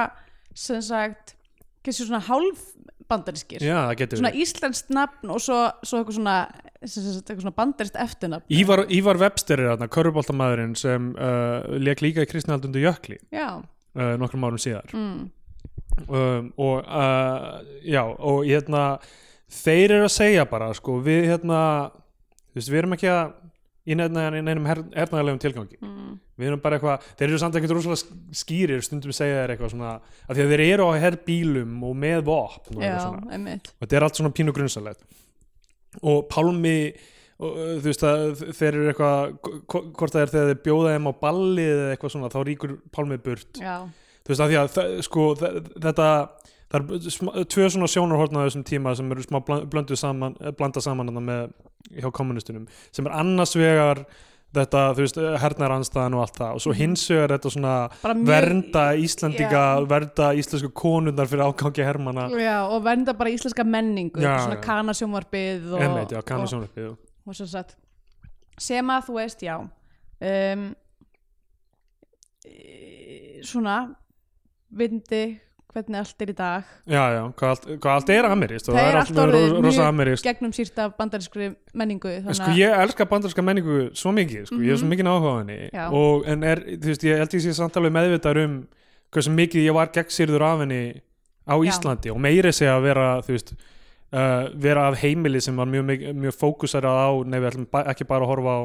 A: sem sagt, kannski svona hálf bandarinskir.
B: Já, það getur
A: Svona
B: við
A: íslenskt nafn og svo, svo eitthvað svona, sem sagt, eitthvað svona bandarist eftirnafn.
B: Ívar, Ívar Webster er þarna, körfuboltamaðurinn sem uh, leik líka í Kristnaldundu Jökli
A: Já,
B: uh, nokkrum árum síðar
A: mm,
B: um, og uh, já, og hérna þeir eru að segja bara, sko, við hérna þú veist, við erum ekki að í neinum, neinum her, hernaðarlegum tilgangi
A: mm,
B: við erum bara eitthvað, þeir eru samt ekkert rosalega skýrir stundum segja þeir eitthvað svona af því að þeir eru á herbílum og með vopn og
A: já,
B: eitthvað svona
A: einmitt.
B: og þetta er allt svona pínu grunnsalegt og Pálmi og, uh, þú veist að þeir eru eitthvað hvo- hvort það er þegar þeir bjóða þeim á ballið eða eitthvað svona, þá ríkur Pálmi burt
A: Já,
B: þú veist að því að þa- sko, þa- þetta það er sm- tvö svona sjónarhortna á þessum tíma sem eru smá blan- blönduð saman eh, blanda saman þarna með hjá kommunistunum sem er annars vegar þetta, þú veist, hernaranstaðan og allt það og svo hins vegar þetta svona
A: bara mjög...
B: vernda Íslendinga, vernda íslensku konundar fyrir ágangi hermana
A: Já, og vernda bara íslenska menningu
B: Já,
A: svona
B: já.
A: kanasjónvarpið og,
B: Emmeit, já, kannasjónarpið
A: og, og sem sagt sem að þú veist, já um, e, svona vindi hvernig allt er í dag
B: Já, já, hvað allt, hvað allt er amirist og
A: Það
B: það er
A: er
B: allt
A: allt orðið
B: ro- rosa
A: mjög
B: amirist
A: gegnum sýrt af bandarinskri menningu þannig
B: Sko ég elska bandarska menningu svo mikið, sko, ég hef svo mikið áhuga á henni
A: Mhm. Já.
B: og en er, þú veist, ég held ég sé samt alveg meðvitaður um hversu mikið ég var gegnsýrður af henni á
A: Já.
B: Íslandi og meiri segja að vera, þú veist uh, vera af heimili sem var mjög, mjög, mjög fókusarað á, nei við ætlum ba- ekki bara að horfa á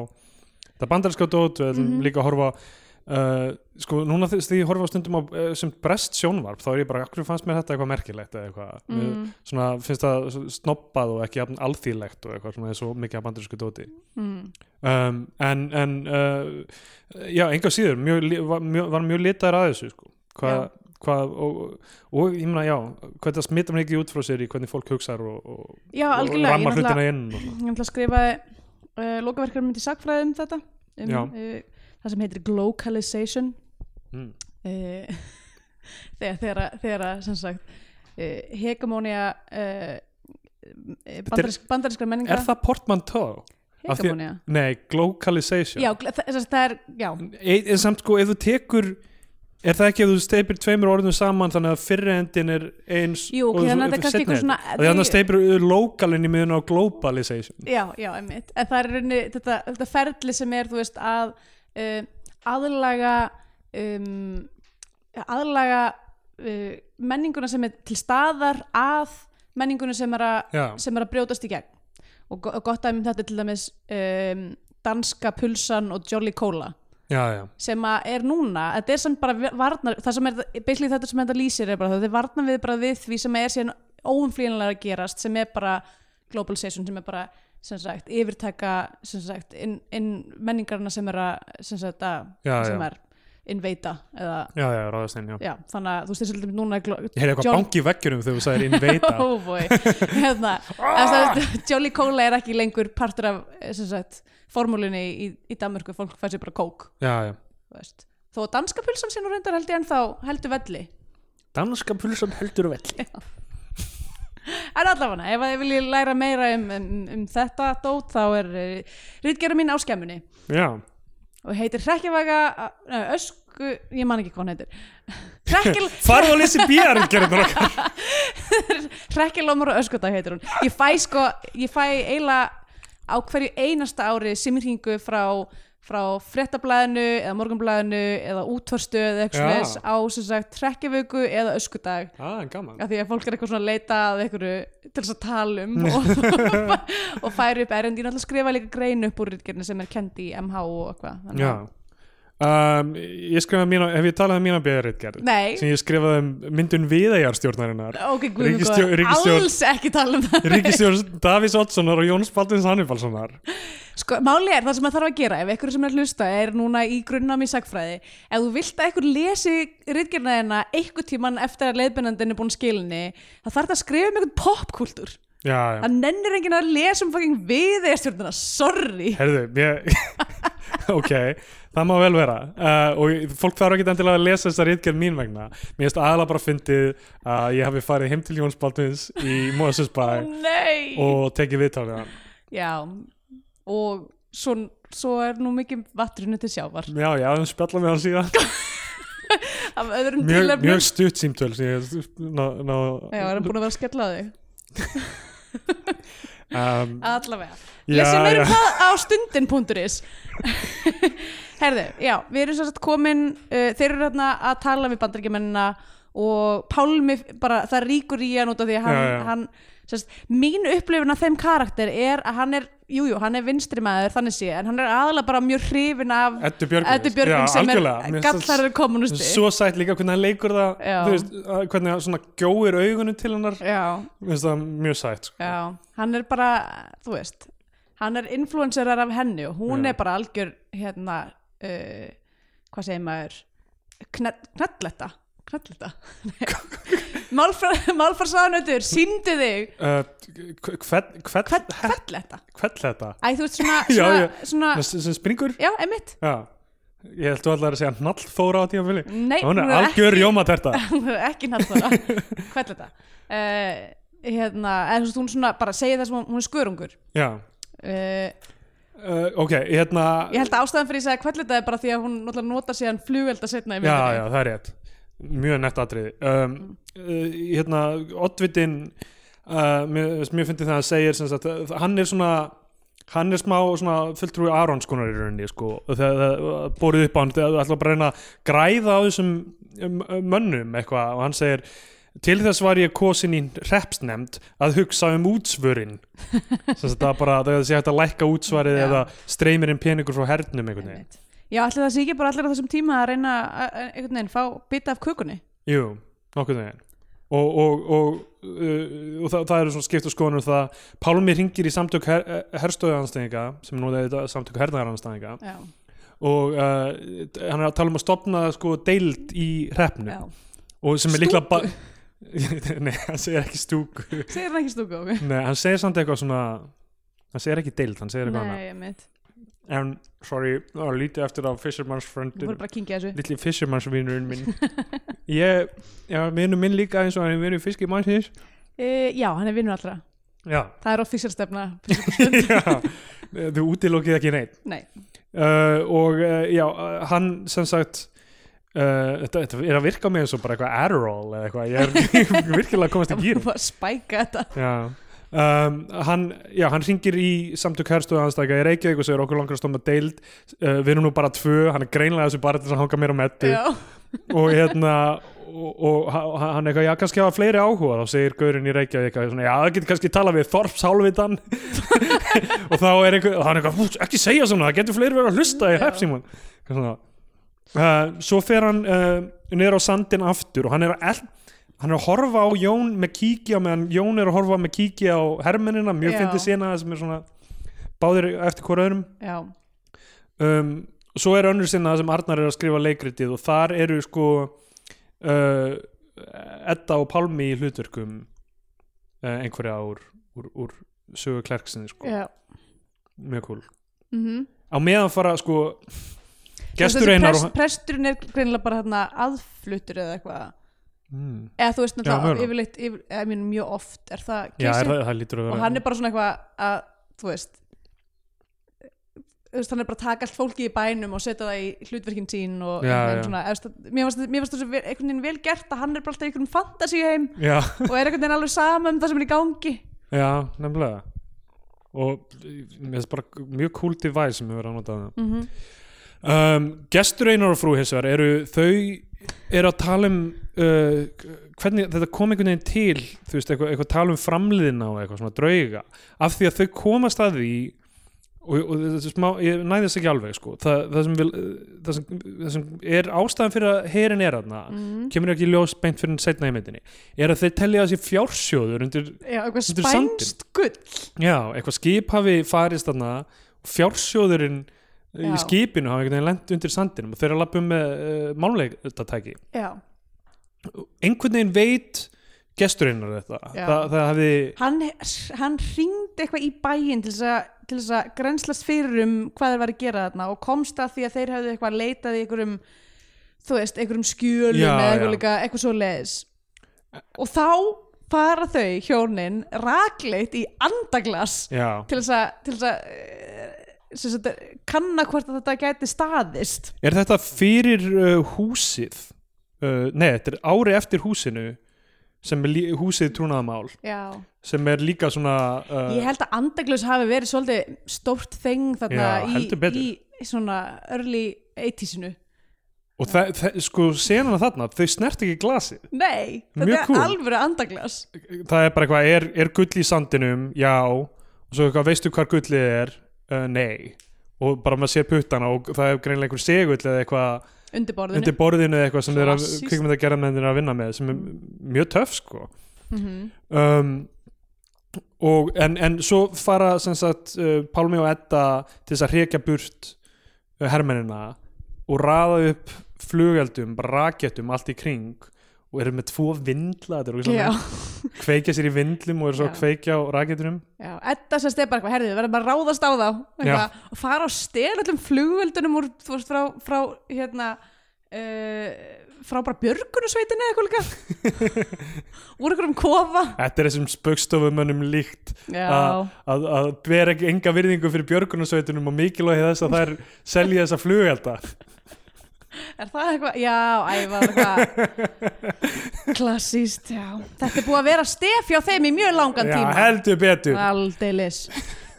B: það bandarska dót, við ætlum
A: Mhm.
B: líka að horfa á, Uh, sko núna þess- þegar ég horfa á stundum á uh, sem brest sjónvarp þá er ég bara, akkur fannst mér þetta eitthvað merkilegt eða eitthvað, mm.
A: Mm.
B: svona finnst það snoppað og ekki jafn alþýlegt og eitthvað svona eins og mikið af bandarísku dóti
A: mm,
B: um, en, en uh, já, enga síður mjög, li- var, mjög, var mjög litaður að þessu sko. hvað
A: Já.
B: hva, og, og, og ég meina já, hvað það smita mér ekki út frá sér í hvernig fólk hugsar og, og,
A: Já,
B: og
A: algjörlega, ég
B: ramma
A: náttúrulega
B: hlutina inn og, svona.
A: ég ætla að skrifa uh, lokaverkar myndi sagfræði um þetta um,
B: Já.
A: uh, það sem heitir glocalization
B: mm.
A: Eh, þegar, þegar, að- þegar að, sem sagt uh, hegemónia uh,
B: er-
A: bandarinsk, bandarinskra menninga
B: er það portmanteau? Af því-
A: hegemónia
B: Nei, glocalization
A: já, gl- það, það er, já
B: e, e, Samt sko, ef þú tekur Er það ekki ef þú steipir tveimur orðum saman þannig að fyrri endin er eins
A: Jú, ok,
B: og þú-
A: þannig að þetta er
B: ef þú
A: kannski
B: seinni
A: eitthvað svona-
B: endin- Af því Þannig að steipir localin í miðun á globalization
A: Já, já, einmitt. En það er í rauninni þetta, þetta ferli sem er, þú veist, að uh, aðlaga um, aðlaga uh, menninguna sem er til staðar að menninguna sem er að,
B: Já,
A: sem er að brjótast í gegn. Og, go og gott dæmi um þetta er til dæmis um, danska pulsan og Jolly Cola
B: já, já
A: sem að er núna, þetta er samt bara varnar, það sem er, basically þetta sem þetta lýsir er bara það, þetta er varnar við bara við því sem er síðan óumflýjanlega að gerast sem er bara globalization, sem er bara sem sagt, yfirtaka sem sagt, inn, inn menningarna sem er að sem sagt, að,
B: Já,
A: sem
B: já.
A: er inveita eða,
B: Já, já, ráðast einn, já.
A: já, þannig að þú veist þessi núna er glo-
B: Ég heyrði eitthvað
A: John-
B: banki í veggjunum þegar þú sagðir invita.
A: oh boy hérna, ah! Jolly Cola er ekki lengur partur af sem sagt, formúlinni í, í Danmörku, fólk fær sér bara kók
B: já, já.
A: þú veist. þó að danska pulsan sinna reyndar held ég ennþá heldur velli
B: Danska pulsan heldur velli.
A: en allavega, ef að ég vilji læra meira um, um, um þetta dót þá er uh, rítgerða mín á skemmunni
B: Já.
A: og heitir Hrekkjavaga uh, ösku, ég man ekki hvað hann heitir Hrekkjal-
B: Farðu að lýsi bíjargerðunar okkar.
A: Hrekkjalómur og öskudag heitir hún ég fæ sko, ég fæ eiginlega á hverju einasta ári simringu frá frá fréttablaðinu eða morgunblaðinu eða útvarstöð eða eitthvað
B: Já.
A: svoleiðis á sem sagt trekkjavöku eða öskudag
B: Ah, gaman.
A: af því að fólk er eitthvað svona að leita að einhverju til þess að tala um og, og færi upp erindi ég náttúrulega skrifa líka grein upp úr ritgerðinu sem er kendi í MH og eitthvað þannig
B: Já.
A: að-
B: Um, ég skrifaði mína, hef ég talað um mína bíjargerð?
A: Nei.
B: Sem ég skrifaði um myndun viðæjarstjórnarinnar.
A: ok, guðum
B: Ríkisstjórn- ríkisstjórn-
A: alls ekki tala um það
B: Ríkistjórn Davís Oddssonar og Jóns Baldins Hannibalssonar.
A: sko, máli er það sem maður þarf að gera ef einhverju sem er að hlusta er núna í grunnam í sagfræði ef þú vilt að einhver lesi ritgerðina þeirna einhver tíman eftir að leiðbennandinn er búin skilinni það þarf það að skrifa um einhvern popkúltúr
B: Já, já.
A: það nennir enginn að lesa um fucking við eða sorry
B: Herðu, ég... ok, það má vel vera uh, og fólk þarf ekki endilega að lesa þessa rítgerð mín vegna mér finnst aðalega bara fyndið að ég hafi farið heim til Jóns Baldvins í Mosesbæ
A: nei
B: og tekið viðtal við hann
A: Já, og svo, svo er nú mikið vatninu til sjávar
B: já, já, hann spjalla með hann síðan
A: af öðrum
B: mjög,
A: tilefnum
B: mjög stutt símtöl sem ég ná, ná,
A: Já, erum búin að vera að skella á þig
B: um,
A: Allavega
B: já,
A: Lesi meira
B: já,
A: um það á stundin.is Herðu, já, við erum svo sett komin uh, Þeir eru hérna að tala við bandaríkjamennina og Pálmi, bara, það ríkur í hann út af því að hann,
B: Já, já.
A: hann sérst, mín upplifun af þeim karakter er að hann er, jújú, jú, hann er vinstri maður þannig sé, en hann er aðalega bara mjög hrifin af
B: Eddu Björgvins
A: Eddu Björgvin
B: já,
A: sem
B: algjörlega. Mér
A: er
B: finnst það
A: gallarður kommunisti
B: svo sætt líka hvernig hann leikur það
A: Já.
B: þú veist, að- hvernig hann svona gjóir augunum til hennar
A: Já,
B: Mér finnst það mjög sætt sko.
A: já, hann er bara, þú veist, hann er influencerar af henni og hún
B: Já.
A: er bara algjör, hérna, uh, hvað segir maður, knalletta, knalletta, málfarsaðanöður, síndu þig,
B: Uh, hve- hvern hvern-
A: knalletta,
B: hvern þetta
A: æ, þú veist, svona,
B: Já,
A: svona,
B: já.
A: svona,
B: Með- sem springur
A: já, emitt,
B: já. ég held þú allar að segja hnallþóra á tímafili
A: nei,
B: hún er algjör jómaterta
A: ekki, ekki knalletta, knalletta, uh, hérna, eða þú veist, hún svona, bara segir það sem hún- hún er skörungur,
B: já
A: uh,
B: Uh, ok, hérna
A: Ég held að ástæðan fyrir ég sagði kvöldlita er bara því að hún náttúrulega notar síðan flugelda setna í
B: já,
A: myndinni. Mm.
B: já, það er rétt mjög nett atriði um, uh, hérna, Oddvitin uh, mér, mér fyndi það að segja sem sagt, uh, hann er svona hann er smá svona fulltrúi Aronskonar í rauninni sko, þegar það borið upp á hann þegar það ætla bara að reyna að græða á þessum um, mönnum eitthvað og hann segir til þess var ég kosin í hreppsnefnd að hugsa um útsvörin sem þetta bara þegar þessi hægt að lækka útsvarið
A: Já.
B: eða streymirinn peningur frá hernum einhvern veginn
A: Einmitt. Já, ætli það sé ekki bara allir á þessum tíma að reyna að að einhvern veginn fá bita af kökunni.
B: Jú, nokkuð veginn og, og, og, uh, og það, það eru svona skipt og skoðunum um það Pálmi ringir í samtök her, herstöðanstæðinga sem nú er þetta samtök hernaðaranstæðinga
A: Já,
B: og uh, hann er að tala um að stopna sko deild í hreppnu
A: já.
B: og sem er líklega
A: Stúku?
B: ba- Nei, hann segir ekki stúku
A: Segir hann ekki stúku okkur?
B: Nei, hann segir samt eitthvað svona hann segir ekki deild, hann segir eitthvað annað
A: Nei, mitt.
B: en, sorry, það var lítið eftir á Fisherman's
A: Þú
B: Friendin
A: voru bara að kynkja þessu.
B: litli fishermannsvinurinn minn ég, já, vinur minn líka eins og hann er vinur fiskimannsins
A: Eh, Uh, já, hann er vinnur allra.
B: já,
A: Það er á físjarstefna.
B: já þú útilokið ekki neitt
A: Nei,
B: uh, og uh, já, uh, hann sem sagt uh, þetta, þetta er að virka á mig eins og bara eitthvað Adderall eða eitthvað, ég er virkilega að komast í
A: það
B: gýr
A: var bara að spæka þetta
B: já Um, hann, já, hann ringir í samtök herstuðu aðstækja í Reykjavík og segir okkur langar að stóma deild uh, við erum nú bara tvö, hann er greinlega þessu bara til þess að hanga mér á mettu
A: Já,
B: og hérna og, og ha- hann eitthvað, já kannski hafa fleiri áhuga þá segir Gaurinn í Reykjavík eitthvað svona, já það getur kannski talað við Þorps hálfitan og þá er eitthvað, og hann eitthvað "Hú, ekki segja svona, það getur fleiri verið að hlusta í
A: Já.
B: hepsíman uh, Eh, svo fer hann uh, niður á sandin aftur og hann er að el hann er að horfa á Jón með kíki á meðan Jón er að horfa með kíki á hermennina mjög
A: Já.
B: fyndið sína sem er svona báðir eftir hvora öðrum
A: já,
B: um, svo er önnur sinna sem Arnar er að skrifa leikritið og þar eru sko uh, Edda og Pálmi í hlutverkum uh, einhverja úr, úr, úr sögu klerksinni sko,
A: já.
B: mjög cool
A: Mm
B: á meðan fara sko gestur einar
A: prest,
B: og,
A: Presturinn er greinilega bara þarna aðfluttur eða eitthvað
B: mm,
A: Eða þú veist náttúrulega
B: mögulega.
A: yfirleitt, yfir, eða, minn, mjög oft er það
B: já,
A: keisinn?
B: er, það, það lítur að
A: og
B: vera
A: hann er bara svona eitthvað að þú veist þú veist, hann er bara að taka allt fólki í bænum og setja það í hlutverkin sín og
B: Já,
A: einhvern veginn
B: já.
A: svona, efst, mér varst, mér varst þessu vel- einhvern veginn vel gert að hann er bara alltaf í einhvern fantasíu heim
B: já,
A: og er einhvern veginn alveg sama um það sem er í gangi
B: já, nefnilega og mér finnst bara mjög cool device sem hefur verið að nota það
A: mm -hmm.
B: Um, gestur einar og frú hins vegar eru þau eru að tala um uh, hvernig þetta kom einhvern veginn til þú veist, eitthvað, eitthvað tala um framliðina og eitthvað svona drauga, af því að þau komast að því og, og þetta er smá, ég næði þess ekki alveg sko það, það, sem vil, það, sem, það sem er ástæðan fyrir að herin er aðna
A: Mhm.
B: kemur ekki í ljós beint fyrir setna í myndinni er að þeir telja þessi fjársjóður undir,
A: já, eitthvað
B: Þetta er sandinn.
A: spænst gull
B: já, eitthvað skip hafi farist þarna og fjársjóðurinn í
A: Já.
B: skipinu hafa einhvern veginn lent undir sandinum og þeir eru að lappa um með uh, málleikartæki
A: já.
B: einhvern veginn veit gesturinnar þetta
A: Já.
B: Þa, það hafi
A: hann, hann ringdi eitthvað í bæinn til þess að, til þess að grenslast fyrir um hvað þeir var að gera þarna og komst að því að þeir hefðu eitthvað leitað í einhverjum þú veist, einhverjum skjölum
B: Já,
A: eða eitthvað,
B: já.
A: líka, eitthvað svo leiðis og þá fara þau hjónin rakleitt í andaglas
B: já,
A: til þess að, til þess að eh, sem sagt, kanna hvort að þetta gæti staðist
B: er þetta fyrir uh, húsið uh, nei, þetta er ári eftir húsinu sem er lí- húsið trúnaðamál
A: Já.
B: sem er líka svona uh,
A: ég held að andaglaus hafi verið svolítið stórt þeng þarna
B: Já, heldur betur.
A: í, í svona early 80sinu
B: og það, það, sko senana þarna, þau snert ekki glasið
A: Nei,
B: Mjög
A: þetta
B: cool.
A: er alvöru andaglas
B: það er bara eitthvað, er, er gull í sandinum já, og svo eitthvað, veistu hvar gullið er uh, nei og bara maður sér puttana og það er greinlega einhver segull eða eitthvað
A: undir borðinu
B: undir borðinu eða eitthvað sem þeir að
A: Klassískt.
B: kvikmynda að gera með þeir að vinna með sem er mjög töff sko
A: Mhm.
B: um, og en, en svo fara sem sagt uh, Pálmi og Edda til þess að hrekja burt uh, hermennina og raða upp flugeldum, bara rakettum allt í kring og eru með tvo vindla, þetta er okkur
A: Já,
B: kveikja sér í vindlum og eru svo
A: Já.
B: að kveikja á raketunum
A: já, Edda sem stefna eitthvað, herðið, við verðum bara að ráðast á þá eitthvað, og fara á stel öllum flugvöldunum úr, þú veist, frá, frá hérna uh, frá bara björgunusveitinu eða eitthvað líka úr einhverjum kofa
B: Þetta er þessum spaukstofumönnum líkt
A: Já,
B: að, að, að vera ekki enga virðingu fyrir björgunarsveitunum og mikilvægi þess að þær selja þessa flugelda
A: er það eitthvað, já, æfa eitthvað klassíst, já Þetta er búið að vera stef hjá þeim í mjög langan
B: Já,
A: tíma
B: heldur betur
A: aldeilis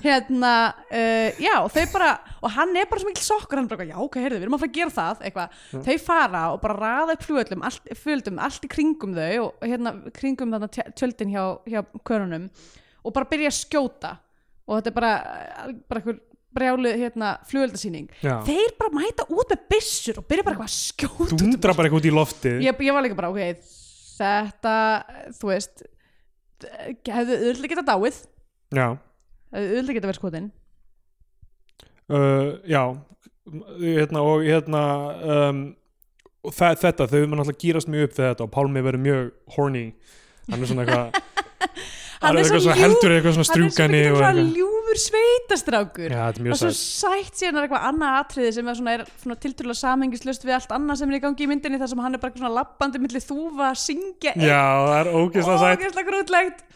A: hérna, uh, já, þau bara og hann er bara svo mikil sokkur, hann bara eitthvað, já, ok, heyrðu, við erum að fara að gera það, eitthvað þau fara og bara raða upp flugöldum allt, flugöldum, allt í kringum þau og hérna, kringum þarna tj- tjöldin hjá, hjá körunum og bara byrja að skjóta og þetta er bara, eh, bara einhver brjálu, hérna, flugöldasýning
B: Já.
A: þeir bara mæta út með byssur og byrja bara eitthvað að skjóta út um
B: Dundra bara eitthvað út í lofti
A: ég, ég var líka bara, ok, þetta þú veist hefðu auðvitað geta dáið
B: Já,
A: hefðu auðvitað geta verið skotin
B: uh, já. Hérna, og hérna um, og þa- þetta, þau mun alltaf gýrast mjög upp við þetta og Pálmi verður mjög horny hann er svona eitthvað
A: Hann er svo
B: eitthvað svona
A: ljú-
B: heldur
A: hann
B: eitthvað svona
A: er svo
B: strjúkani
A: mikið
B: og
A: svona
B: eitthvað.
A: ljúfur sveitastrákur
B: Já, þetta er
A: og
B: mjög
A: svo
B: sætt
A: sætt síðan er eitthvað annað atriði sem er svona, er svona tiltrúlega samhengislaust við allt annað sem er í gangi í myndinni þar sem hann er bara svona lappandi milli þúfa, syngja
B: Já, það er ógeðslega sætt
A: ógeðslega grútlegt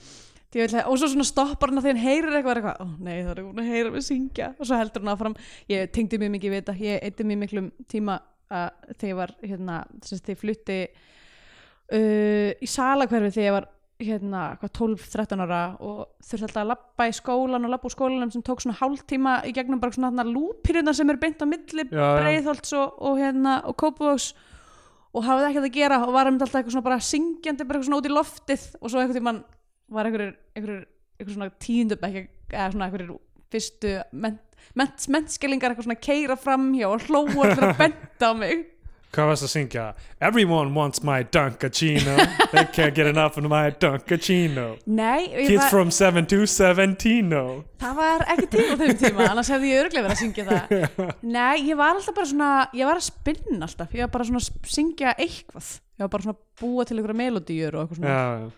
A: Djöfull, og svo svona stoppar hann að þegar hann heyrir eitthvað, er eitthvað ó nei það er hún að heyra mig syngja og svo heldur hann áfram, ég tengdi mjög mikið við þetta ég eitthi mjög miklum tíma uh, þegar ég var hérna, sem sagt, þegar ég flutti uh, í salakverfi þegar ég var hérna, hvað 12-13 ára og þurfti alltaf að labba í skólan og labba úr skólanum sem tók svona hálftíma í gegnum bara svona þarna lúpiruna sem er beint á milli
B: Já, já.
A: breiðholts og, og hérna og kópavóks og hafði ekkert að gera og var einmitt alltaf eitthvað svona bara syngjandi bara eitthvað svona út í loftið og svo einhvern tímann var einhverjur einhverjur, einhverjur svona tíundabæk eða svona einhverjur fyrstu ment, ment, mentskelingar eitthvað svona keira fram hjá og hlóa allir að benda á mig
B: Hvað varst að syngja? Everyone wants my Dunkachino They can't get enough of my Dunkachino
A: Nei, ég
B: Kids
A: var-
B: from 7 to 17
A: það var ekki til á þeim tíma annars hefði ég örglega verið að syngja það nei, ég var alltaf bara svona ég var að spinna alltaf, ég var bara svona að sp- syngja eitthvað, ég var bara svona að búa til einhverja melodíur og eitthvað svona
B: Já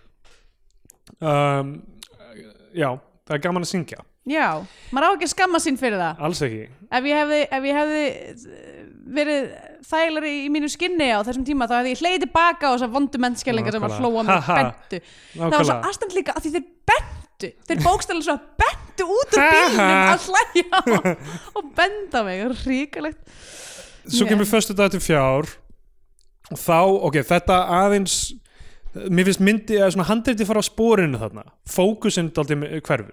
B: já. um, Já, það er gaman að syngja
A: já, maður á ekki að skamma sín fyrir það
B: Alls ekki
A: ef ég hefði, ef ég hefði eh, verið þægilegri í mínu skinni á þessum tíma þá hefði ég hleiði tilbaka á þessar vondu mennskellingar sem var
B: Nákvæmlega.
A: hlóa mig
B: Ha, ha.
A: bentu það var svo astand líka að því þeir bentu þeir bókstæla svo bentu út úr
B: Ha,
A: bílnum
B: ha.
A: að hlæja og- og benda mig, ríkalegt
B: Svo
A: Nei.
B: kemur föstu dag til fjár og þá, ok, þetta aðeins mér finnst myndi að svona handreiti fara á spórinu þarna fókusinn daldið hverfur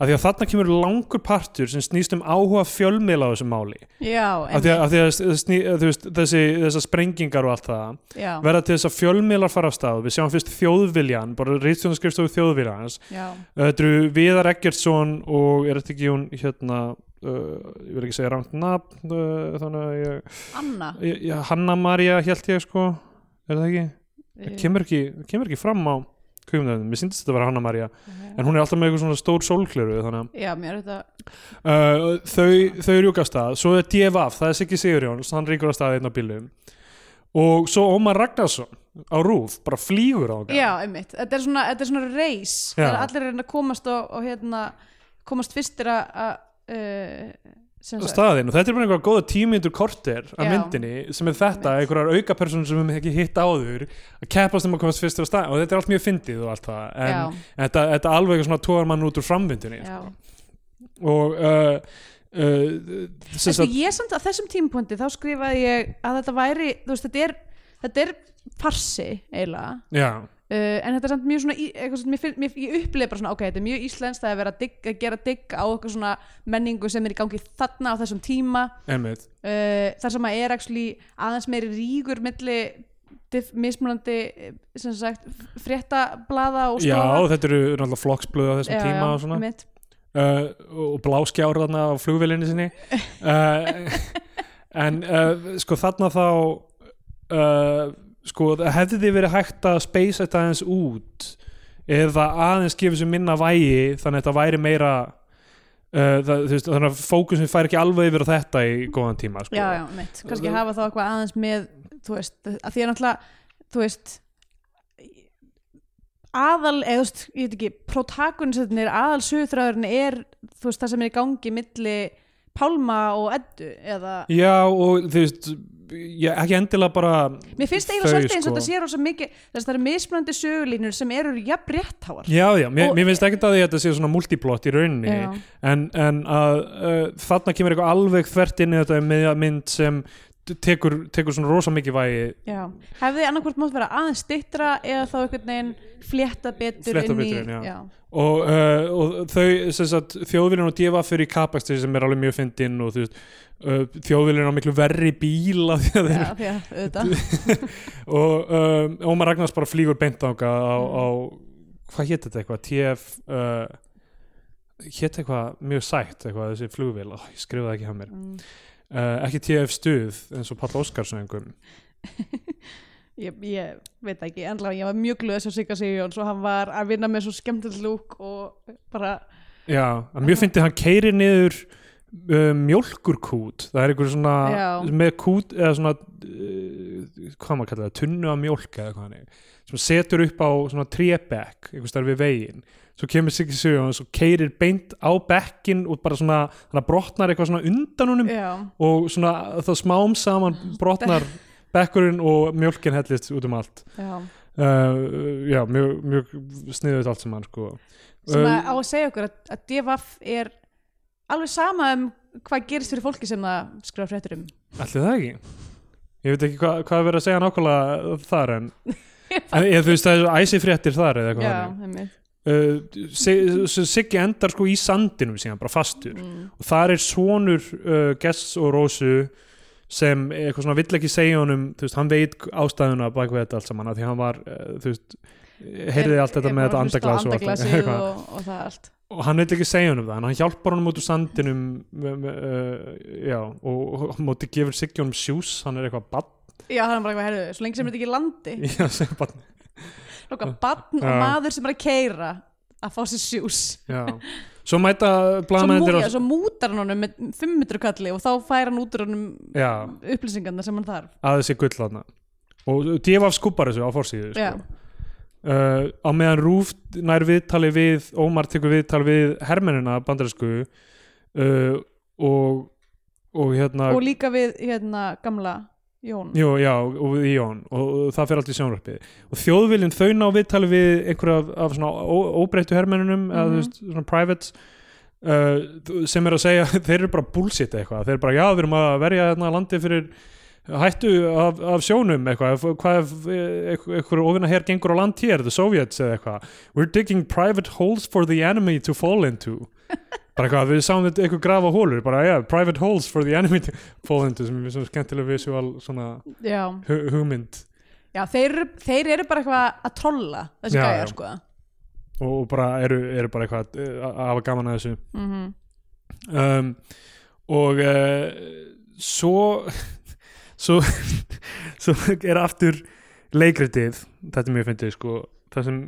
B: af því að þarna kemur langur partur sem snýst um áhuga fjölmiðla á þessu máli
A: Já,
B: af því
A: einmitt,
B: að, af því að það sný, að þú veist, þessi, þessar sprengingar og allt það
A: já,
B: verða til þess að fjölmiðlar fara á stað við sjáum fyrst þjóðviljan, bara reyðstjónaskrifstofu þjóðviljans
A: já,
B: Þetta eru Viðar Eggertsson og er þetta ekki hún hérna Uh, ég vil ekki segja rangt nafn uh, þannig að ég,
A: Anna
B: ég, ég Hanna Maria held ég sko er það ekki, það kemur ekki, það kemur ekki fram á kveimdöfnum, mér syndist þetta að vera Hanna Maria
A: eh,
B: en hún er alltaf með eitthvað svona stór sólkleru þannig
A: Já, mér er þetta
B: að uh, þau, þau rjúka af stað, svo er DFF það er Siggi Sigurjóns, hann ríkur af stað einn á bílum og svo Ómar Ragnarsson á rúf, bara flýgur á
A: Já, einmitt, þetta er svona, þetta er svona reis
B: Já.
A: Það er allir að reyna að komast og, og hérna komast fyrstir að- að uh, sem sagt
B: staðinn og þetta er bara einhverja góða tímyndur korter af
A: Já.
B: myndinni sem er þetta,
A: Einmitt.
B: einhverjar aukapersonur sem við hefum ekki hitt áður að keppast um að komast fyrstur á stað og þetta er allt mjög fyndið og allt það en
A: Já,
B: þetta, þetta alveg eitthvað svona tóðar mann út úr framvindinni
A: já
B: og uh, uh, sem
A: Sko
B: sagt,
A: ég samt að þessum tímpunkti þá skrifaði ég að þetta væri, þú veist, þetta er þetta er farsi eiginlega
B: já,
A: uh, en þetta er samt mjög svona í- eitthvað, sem mér finn, mér, ég upplega bara svona, ok, þetta er mjög íslenskt það er verið að, digg, að gera digg á eitthvað svona menningu sem er í gangi þarna á þessum tíma
B: einmitt
A: uh, þar sem að er actually aðeins meiri rígur milli dif- mismunandi eh, sem sagt, fréttablaða og
B: já,
A: stofa
B: þetta eru náttúrulega flokksblöð á þessum tíma og svona
A: einmitt.
B: uh, og bláskjár þarna á flugvélinni sinni uh, en uh, sko þarna þá uh, sko það hefði þið verið hægt að speysa þetta aðeins út eða aðeins gefa sér minna vægi þannig að þetta væri meira uh, það, þú veist, þannig að fókusin fær ekki alveg yfir á þetta í góðan tíma sko.
A: já, já, mitt, kannski
B: Það-
A: hafa þá eitthvað aðeins með þú veist, að því er náttúrulega þú veist aðal, eða þú veist, ég veit ekki protagonistinir, aðal sögutræðurinn er þú veist, það sem er í gangi milli Pálma og Eddu eða,
B: já og þú veist ég, ekki endilega bara
A: mér finnst eiginlega
B: þau,
A: svolítið eins og
B: sko.
A: þetta sé rosa mikið, þess að það eru mismunandi sögulínur sem eru jafn réttháar
B: já, já, mér,
A: Og-
B: mér finnst ekkert að því að þetta sé svona multiplot í rauninni
A: Já.
B: en, en að uh, þarna kemur eitthvað alveg þvert inn í þetta með mynd sem t- tekur, tekur svona rosa mikið vægi
A: Já, hefði annarkvort mátt vera aðeins stittra eða þá einhvern veginn flétta betur
B: Flétta
A: inn í
B: betur inn, já. og, uh, og þau sem sagt, þjóðviljun og djöfa fyrir kapakstri sem er alveg mjög fyndinn og þú veist uh, þjóðviljun á miklu verri bíla því að þeir
A: já, já, auðvitað
B: og um, Ómar Ragnars bara flýgur beint ánga á, á hvað hétt þetta eitthvað TF uh, hétt eitthvað mjög sætt eitthvað þessi flugvél, oh, ég skrifaði ekki hann mér
A: Mm.
B: uh, ekki TF stuð eins og Pall Óskarsöngum
A: ég, ég veit ekki, ennlega ég var mjög glöð þess að Sigga Sigjóns og hann var að vinna með svo skemmtileg lúk og bara,
B: Já, að mjög fyndið hann keiri niður uh, mjólkurkút það er einhver svona
A: Já.
B: með kút eða svona uh, hvað maður kallar það, tunnu af mjólk eða hvað hann er sem setur upp á svona trébekk einhvers þar við veginn svo kemur Siggi Sigjóns og keirir beint á bekkin og bara svona, þannig að brotnar eitthvað svona undan honum
A: já
B: og svona það smám saman brotnar bekkurinn og mjölkin hellist út um allt
A: já.
B: uh, já, mjög, mjög sniðut allt saman sko.
A: sem
B: Uh,
A: að á að segja okkur að, að DFF er alveg sama um hvað gerist fyrir fólki sem það skrifa fréttur um
B: Ætli það ekki? Ég veit ekki hva, hvað er verið að segja nákvæmlega þar en, en ég, þú veist það er æsi fréttir þar eða eitthvað
A: já,
B: þannig.
A: einmitt.
B: uh, Sig- S- Siggi endar sko í sandinum síðan bara fastur
A: Mm.
B: og þar er sonur uh, Gess og Rósu sem eitthvað svona vill ekki segja honum þú veist, hann veit ástæðuna bak við þetta allt saman af því hann var, uh, þú veist heyrði
A: Er-
B: allt þetta
A: er
B: með
A: bara
B: þetta
A: að hlusta á
B: andaglas og, allt
A: andaglasið
B: það- eitthvað.
A: og, og það allt
B: og hann veit ekki segja honum það en hann hjálpar honum út úr sandinum með- með, uh, já, og og á móti gefur Siggi honum sjús, hann er eitthvað badn
A: já, hann er bara eitthvað, herðu, svo lengi sem þetta ekki er landi
B: Já, segja barn
A: Lóka, barn og
B: Já.
A: maður sem er að keira að fá sér sjús
B: Já. Svo mæta
A: svo, mú,
B: blaðmennir
A: já, svo mútar hann honum með 500 kalli og þá fær hann út úr honum
B: Já.
A: upplýsingarna sem hann þarf
B: að þessi gull þarna og divaf skúpar þessu á forsíðu sko.
A: Já.
B: uh, á meðan Rúf nær viðtali við Ómar tekur viðtali við hermennina bandarísku uh, og og hérna
A: og líka við hérna gamla Jón
B: Jú, já, og við Jón og, og það fer allt í sjónvarpið og þjóðviljin þau ná viðtali við einhverja af, af svona ó- óbreyttu hermennunum eða
A: Mhm.
B: þú veist, svona privates uh, sem er að segja, þeir eru bara bullshit eitthvað, þeir eru bara, já, við erum að verja hérna landið fyrir hættu af, af sjónum eitthvað, Ef- hvað ef eh, einhver- einhver ofina herr gengur á land hér the Soviets eða eitthvað, we're digging private holes for the enemy to fall into bara eitthvað, við sáum þetta eitthvað grafa hólur bara, já, private holes for the enemy to fall into, sem er svona skemmtilega visual svona
A: já.
B: hu- hugmynd
A: Já, þeir, eru- þeir eru bara eitthvað að trolla þessi
B: Já,
A: gæja,
B: já.
A: sko
B: og bara eru, eru bara eitthvað eh, að að hafa gaman að þessu
A: mm
B: um, og uh, svo svo, svo er aftur leikritið þetta er mjög fyndið sko það sem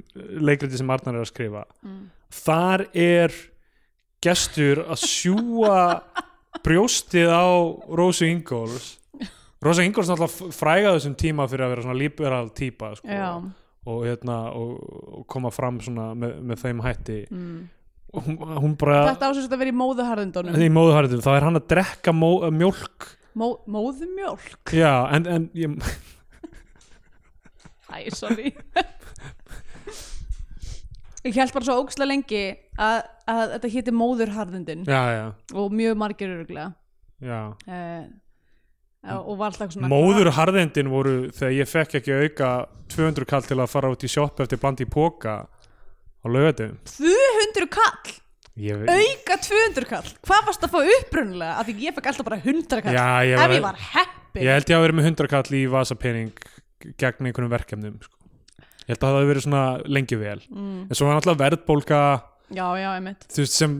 B: leikritið sem Arnar er að skrifa
A: mm.
B: þar er gestur að sjúa brjóstið á Rósu Ingóls Rósa Ingóls náttúrulega frægaðu þessum tíma fyrir að vera svona liberal típa sko.
A: Já,
B: og, hérna, og, og koma fram svona með, með þeim hætti
A: mm.
B: og hún, hún bara
A: þetta ásins að vera í móðuharðindunum
B: í móðuharðinu, þá er hann að drekka mó, eh, mjólk
A: Mó, Móðumjólk?
B: já, en, en ég,
A: Æ, sorry Ég held bara svo óksla lengi að, að þetta héti móðurharðindin
B: já, já,
A: og mjög margir öruglega
B: já
A: uh, og var alltaf svona
B: móðurharðindin voru þegar ég fekk ekki auka 200 kall til að fara út í sjoppu eftir bland í póka á lögatum
A: 200 kall,
B: ég,
A: auka 200 kall Hvað varst að fá upprunnilega? Af því ég fekk alltaf bara 100 kall
B: já, ég,
A: Ef ég
B: var,
A: var heppin
B: ég held ég að vera með 100 kall í vasapening gegn einhvernum verkefnum sko. ég held að það hafi verið svona lengi vel
A: mm.
B: en svo var náttúrulega verðbólka
A: Já, já, einmitt
B: þú veist, sem,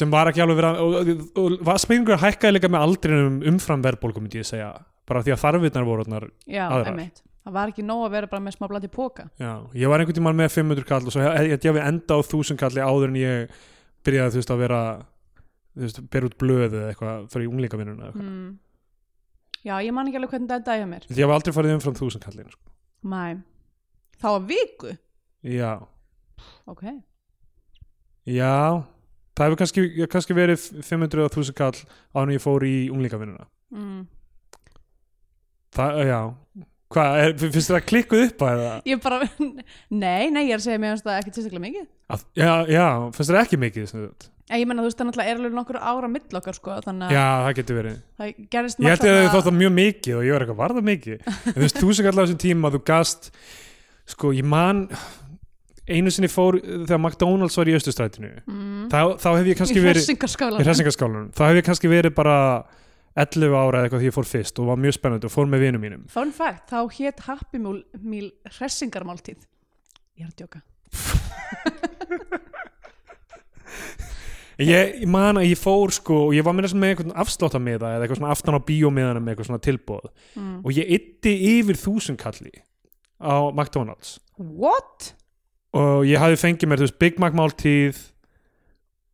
B: sem var ekki alveg vera og, og, og vasspengur hækkaði líka með aldrinum um, umfram verðbólku myndi ég segja bara því að þarfirnar voru orðnar
A: Já,
B: aðrar.
A: einmitt Það var ekki nóg að vera bara með smá blandi póka
B: já, ég var einhvern tímann með 500 kall og svo hef- ég held ég að við enda á 1000 kalli áður en ég byrjaði þú veist að vera þú veist, bera út blöðu eða eitthvað fyrir unglingavinnuna eða eitthvað.
A: mm. Já, ég man ekki alveg hvernig þetta er hjá mér
B: Ég held ég hef aldrei farið umfram 1000 kallin sko.
A: Mæ Þá að viku
B: já,
A: Ok
B: já það hefur kannski, kannski verið 500 eða 1000 kall áður en ég fór í unglingavinnuna
A: mm.
B: það, já Hvað, er- finnst þér það klikkuð upp að það?
A: Ég bara Nei, nei, ég er að segja mér finnst það ekki tilstaklega mikið
B: Að, já, já, finnst þér ekki mikið sem sagt?
A: En ég menna, þú veist, það náttúrulega er alveg nokkur ára mill okkar sko, þannig að
B: Já, það getur verið
A: það gerist
B: Ég held ég að þið
A: margt
B: þótt
A: þarna-
B: það mjög mikið og ég var eitthvað, var það mikið? En þú veist, þú sem kallar þessum tíma að þú gast sko, ég man einu sinni fór þegar McDonalds var í östustrætinu
A: mm.
B: þá, þá hef ég kannski
A: Í
B: verið í
A: hressingarskálan
B: hressingaskálanum, þá hef ég kannski verið bara 11 ára eða eitthvað því ég fór fyrst og var mjög spennandi og fór með vinum mínum
A: Fun fact, þá hét Happy Meal, meal hressingarmáltíð Ég er að djóka
B: Ég, ég man að ég fór sko og ég var meira sem með einhvern afsláttamiða eða eitthvað svona aftan á bíómiðana með eitthvað svona tilbóð
A: Mm.
B: og ég ytti yfir þúsundkalli á McDonalds
A: What?
B: og ég hafði fengið mér þú veist, Big Mac máltíð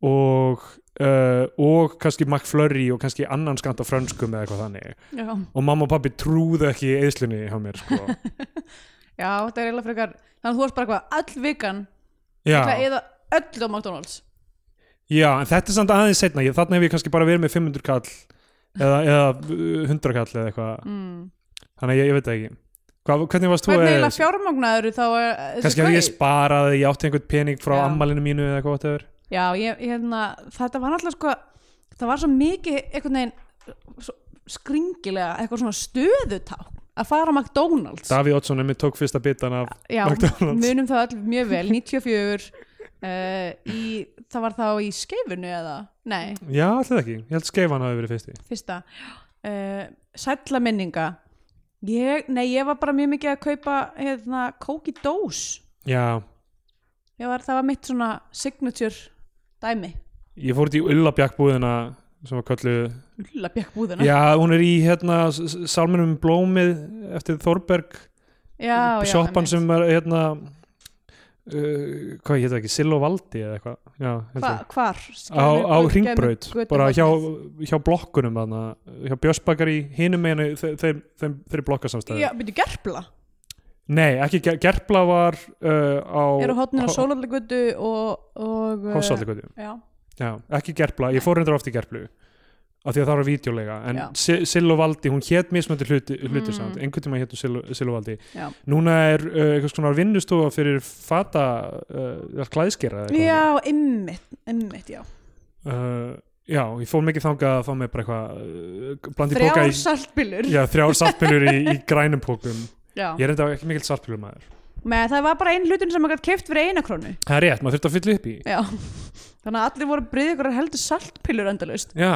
B: og uh, og kannski McFlurry og kannski annan skant af frönskum eða eitthvað þannig
A: Já,
B: og mamma og pappi trúðu ekki eðslunni hjá mér sko
A: Já þetta er eiginlega frekar Þannig að þú varst bara eitthvað all vikan Það
B: já,
A: eða öllu á McDonalds
B: já, en þetta er samt aðeins setna ég, þarna hef ég kannski bara verið með 500 kall eða, eða uh, 100 kall eða eitthvað
A: mm.
B: þannig að ég, ég veit það ekki Hva, hvernig varst þú
A: Hvernig
B: að-
A: eiginlega fjármagnaður þá er þessi
B: kannski ef ég
A: kaup?
B: sparaði, ég átti einhvern pening frá
A: Já.
B: ammalinu mínu eða hvað þetta er
A: Já, ég, hérna, þetta var náttúrulega sko, það var svo mikið einhvern veginn svo skringilega, eitthvað svona stöðutá að fara á McDonalds
B: Davíð Oddsson er mér tók fyrsta bitan af
A: Já,
B: McDonald's.
A: munum það öll mjög vel 94 uh, í, það var þá í skeifinu eða, nei,
B: já, allir ekki, ég held skeifan hafi verið fyrsti
A: fyrsta uh, sætla minninga ég, nei, ég var bara mjög mikið að kaupa hérna, kók í dós
B: já,
A: ég var, það var mitt svona signature dæmi,
B: ég fór út í Ullabjakbúðina sem var kölluð
A: ulla bjökk búðina
B: Já, hún er í hérna s- s- Salminum um blómið eftir Þorberg
A: já,
B: sjoppan
A: einmitt.
B: sem er hérna uh, hvað hétt það ekki, Sill og Valdi eða eitthvað Já, held
A: Hva,
B: ég.
A: hvar?
B: á, á ringbraut,
A: Götu-
B: bara hjá,
A: vatnið.
B: hjá blokkunum þarna, hjá Björnsbakar í hinum meginu þe- þeim, þeim, þeim blokkasamstæði
A: Já, byrju gerpla
B: Nei, ekki Ger- Gerpla var uh, á
A: eru hotnir á sólallegutu og, og uh,
B: Hossallikvötu
A: já,
B: Já, ekki gerpla, ég fór hendur oft í gerplu af því að það var vídeolega en
A: Já.
B: Si- Sill og Valdi, hún hét mismöndi hluti, hluti
A: Mm.
B: samt, einhvern tíma hétu Sill Sill og Valdi
A: já.
B: núna er uh, eitthvað svona vinnustofa fyrir fata uh, klæðskera eða eitthvað
A: já, ymmit, ymmit, já
B: uh, já, ég fór mikið þangað að fá mig bara eitthvað uh, blandi
A: þrjár
B: bóka í
A: saltbillur
B: já, þrjár saltpilur í, í grænum pókum
A: Já.
B: ég er enda ekki mikill saltpilur maður
A: Með, það var bara einn hlutin sem maður gætt keft fyrir eina krónu
B: það er rétt, maður þurfti að fylla upp í
A: já. þannig að allir voru bryðið ykkur að heldur saltpillur endalaust
B: já,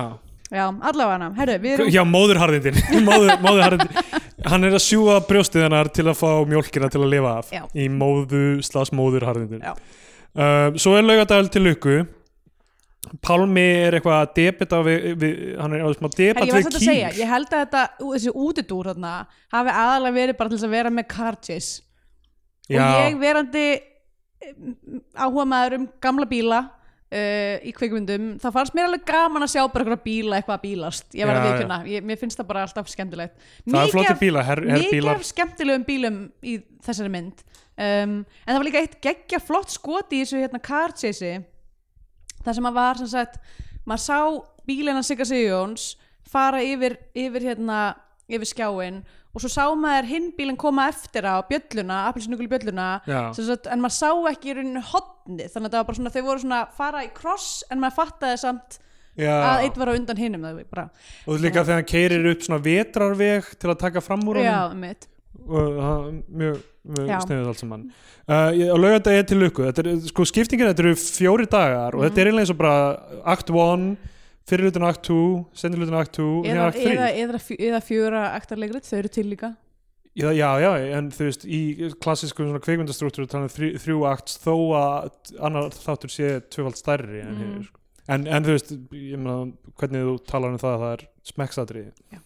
A: já, allavega herru, við erum
B: já móðurharðindin Móður, móðurharðindin hann er að sjúga brjóstið hennar til að fá mjólkina til að lifa af
A: Já.
B: í móðu slags móðurharðindin
A: Já.
B: uh, svo er laugadagal til lukku Pálmi er eitthvað að debita við, við, hann er að smá
A: Herri,
B: debat
A: ég var
B: við
A: svolítið að segja,
B: kýr
A: ég held að þetta, ú, þessi útidúr þarna, hafi aðalega verið bara til þess að vera með kartis
B: Já.
A: og ég verandi áhuga maður um gamla bíla uh, í kvikmyndum, þá fannst mér alveg gaman að sjá bara eitthvað bíla, eitthvað að bílast ég var
B: Já,
A: að viðkjöna, mér finnst það bara alltaf skemmtilegt
B: það er
A: Mikið
B: flotti
A: af-
B: bíla, her, her
A: mikið
B: bílar
A: af skemmtilegum bílum í þessari mynd um, en það var líka eitt geggja flott skot í þessu hérna car chase það sem að var sem sagt maður sá bílina Sigga Sigjóns fara yfir, yfir hérna yfir skjáin og svo sá maður hinn bílinn koma eftir á bjölluna appelsinugul bjölluna
B: Já.
A: sem sagt, en maður sá ekki í rauninu hotni þannig að það var bara svona þau voru svona að fara í kross en maður fattaði samt að
B: Já.
A: eitt var á undan hinum það var bara,
B: og líka þegar hann keirir upp svona vetrarveg til að taka fram úr
A: já,
B: honum
A: mitt
B: og það er mjög, mjög
A: Já.
B: sniðið allt saman uh, ég- á laugardegi er til lukku þetta er, sko skiptingin, þetta eru fjóri dagar
A: Mhm.
B: og þetta er eiginlega eins og bara act 1 fyrir hlutin act 2, sendir hlutin act 2
A: eða,
B: act 3
A: eða, eða, fjö- eða fjöra ektarlegrið, þau eru til líka
B: Já, já, já, en þú veist, í klassísku svona kvikmyndastrúktúru þannig þrjú, þrjú akts þó að annar þáttur sé tvöfald stærri en,
A: Mm.
B: mm. sko. en, en þú veist, ég meina hvernig þú talar um það að það er smekksatriði
A: Já.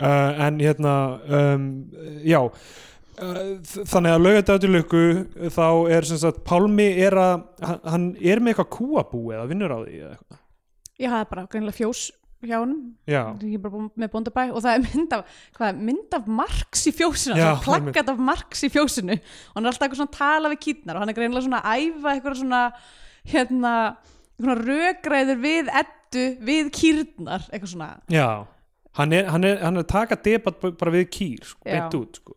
B: uh, en hérna um, já uh, þ- þannig að laugardagur til lukku þá er sem sagt, Pálmi er að hann- hann er með eitthvað kúabú eða vinnur á því eða eitthvað,
A: ég hafði bara greinlega fjós hjá honum
B: já
A: ég er bara búin með bóndabæ og það er mynd af, hvað, er, mynd af Marx í fjósinu
B: Já,
A: það er plakkat af Marx í fjósinu og hann er alltaf eitthvað svona að tala við kýtnar og hann er greinlega svona að æfa eitthvað svona hérna, svona rökræður við ettu, við kýrnar eitthvað svona,
B: Já, hann er, hann er, hann er að taka debat b- bara við kýr, sko,
A: Já.
B: beint út sko.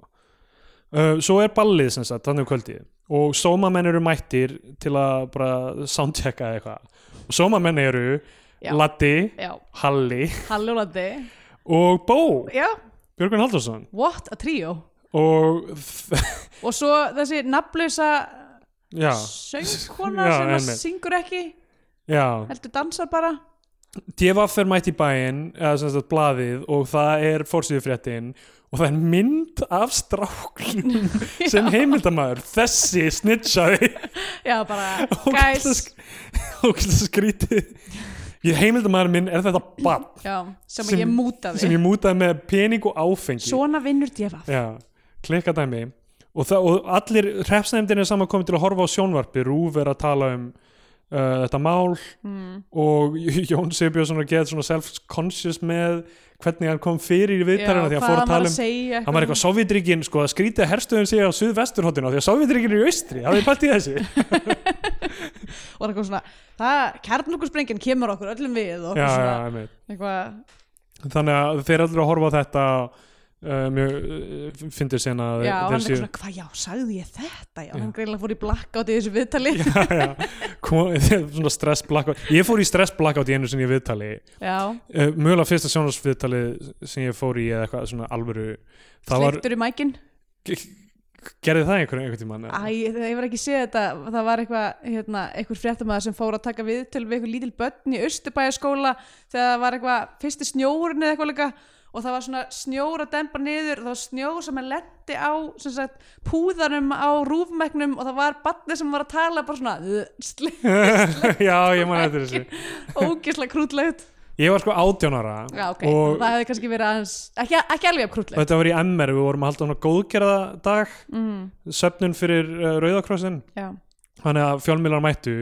B: uh, Svo er ballið sem sagt, þannig um kvöldið og sómamenn eru mættir til að bara soundchecka eitthvað og sómamenn eru
A: Já.
B: Latti,
A: já,
B: Halli
A: halljólaði
B: og Bó,
A: já,
B: Björgvin Halldórsson
A: what a trio
B: og þ-
A: og svo þessi nafnlösa
B: já,
A: söngkona
B: Já,
A: sem að
B: einmitt.
A: syngur ekki
B: já
A: heldur dansar bara
B: Devaf er mætt í bæinn eða sem sagt blaðið og það er fórsýðufréttin og það er mynd af stráknum sem heimildamaður þessi snitchaði
A: já, bara,
B: Ógeðslega
A: guys
B: sk- ógeðslega skrítið ég heimildamæður minn er þetta bann
A: já, sem,
B: Sem-
A: ég mútaði
B: sem ég mútaði með pening og áfengi
A: svona vinnur djefa
B: Já, klikka dæmi og, það, og allir hrepsnefndin er saman komið til að horfa á sjónvarpi Rúf er að tala um uh, þetta mál
A: Hmm.
B: og J- Jón Sibjörnsson er að geta svona self-conscious með hvernig hann kom fyrir í viðtæluna því að fór að
A: var að
B: tala um
A: segja
B: hann var eitthvað Sovjetríkin, sko, að skrítið að herstöðun sé á suðvesturhóttinu því að Sovjetríkin er í austri hafið pælt í þessu
A: og var eitthvað svona, það, kjarnlökusprengin kemur okkur öllum við og
B: já, já,
A: svona,
B: einmitt.
A: eitthvað
B: þannig að þeir allir að horfa á þetta uh, mjög uh, fyndir sena að
A: já,
B: þeir-
A: hann er
B: þeir séu-
A: svona, hvað já, sagði ég þetta já,
B: Já.
A: hann greinlega fór í blackout í þessu viðtali já,
B: já, já, kom, svona stress blackout ég fór í stress blackout í einu sinni í viðtali uh, mögulega fyrsta sjónarsviðtali sem ég fór í eða eitthvað svona alvöru það var,
A: sleiktur í mækin
B: gerði það einhvern, einhvern tímann eða?
A: Æ, ég ég var ekki séð þetta, það var eitthvað hérna, einhver fréttamaður sem fór að taka við til við einhver lítil börn í Östubæjaskóla þegar það var eitthvað, fyrsti snjórun eða eitthvað líka og það var svona snjór að dempa niður, það var snjór sem hann lendi á sem sagt, púðanum á rúfmeknum og það var barni sem var að tala bara svona sli-
B: já, ég man eftir þessu
A: ógeðslega krútlegt
B: ég var sko 18 ára
A: Já, ok,
B: og
A: það hefði kannski verið aðeins ekki, ekki alveg af krútlegt
B: þetta var í MR við vorum að halda svona góðgerða dag
A: mm,
B: söfnun fyrir uh, Rauðakrossin
A: Já,
B: þannig að fjölmiðlar mættu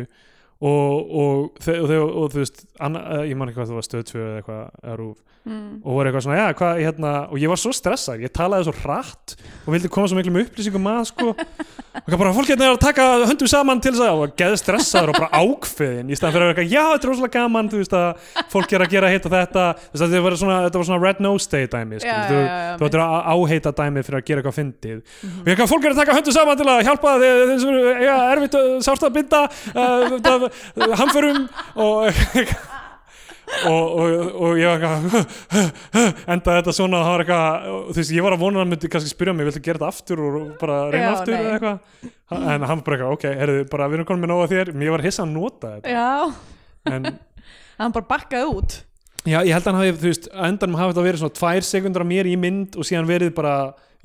B: og, og, þe og, þe og þú veist anna, eh, ég man ekki hvað það var stöðtvöð eða eitthvað eða rúf
A: mm,
B: og voru eitthvað svona, já, hvað, hérna og ég var svo stressað, ég talaði svo hratt og vildi koma svo miklum upplýsingum að sko og hvað bara, fólk hérna er að taka höndum saman til þess að, og geði stressaður og bara ákveðin í staðan fyrir að vera eitthvað, já, þetta er rosalega gaman þú veist að fólk er að gera hitt og þetta þú veist, þetta, var svona, þetta var svona red nose day dæmi sko,
A: Já, já,
B: þú,
A: já, já, Mhm.
B: þú ættir að áheita dæmi fyrir að gera eitthvað fyndið og ég eitthvað, fólk er að taka höndum saman til að hjálpa þeir, þeir sem eru eiga erfitt uh, sárt að binda uh, það, uh, hamförum og og, og, og ég var eitthvað enda þetta svona það var eitthvað, og þú veist, ég var að vona að hann myndi kannski spyrja mig, viltu gera þetta aftur og bara reyna
A: Já,
B: aftur
A: nei.
B: eða eitthvað Ha- en hann bara eitthvað, ok, heyrðu, bara við erum konum með nóga þér mér var hissa að nota þetta
A: já,
B: en,
A: hann bara bakkaði út
B: já, ég held að hann hafi, þú veist, á endanum hafi þetta verið svona tvær sekundur af mér í mynd og síðan verið bara,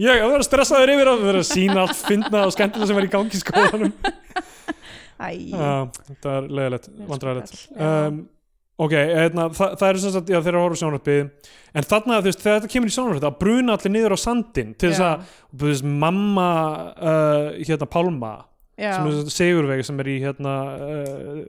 B: ég, það verið stressaður yfir að verið að sína allt, fyndna og skemmtilega sem er í gangi í skólanum
A: Æ,
B: Já, þetta er leiðilegt,
A: er
B: vandræðilegt
A: svo kall, já.
B: Ah, um, Ok, eðna, þa það eru sem sagt já, þeir eru að horfa á sjónvarpið en þarna þú veist, þegar þetta kemur í sjónvarpið að bruna allir niður á sandin til þess
A: Já.
B: að þú veist, mamma uh, hérna Pálma
A: já,
B: sem er segurvegi sem er í hérna uh,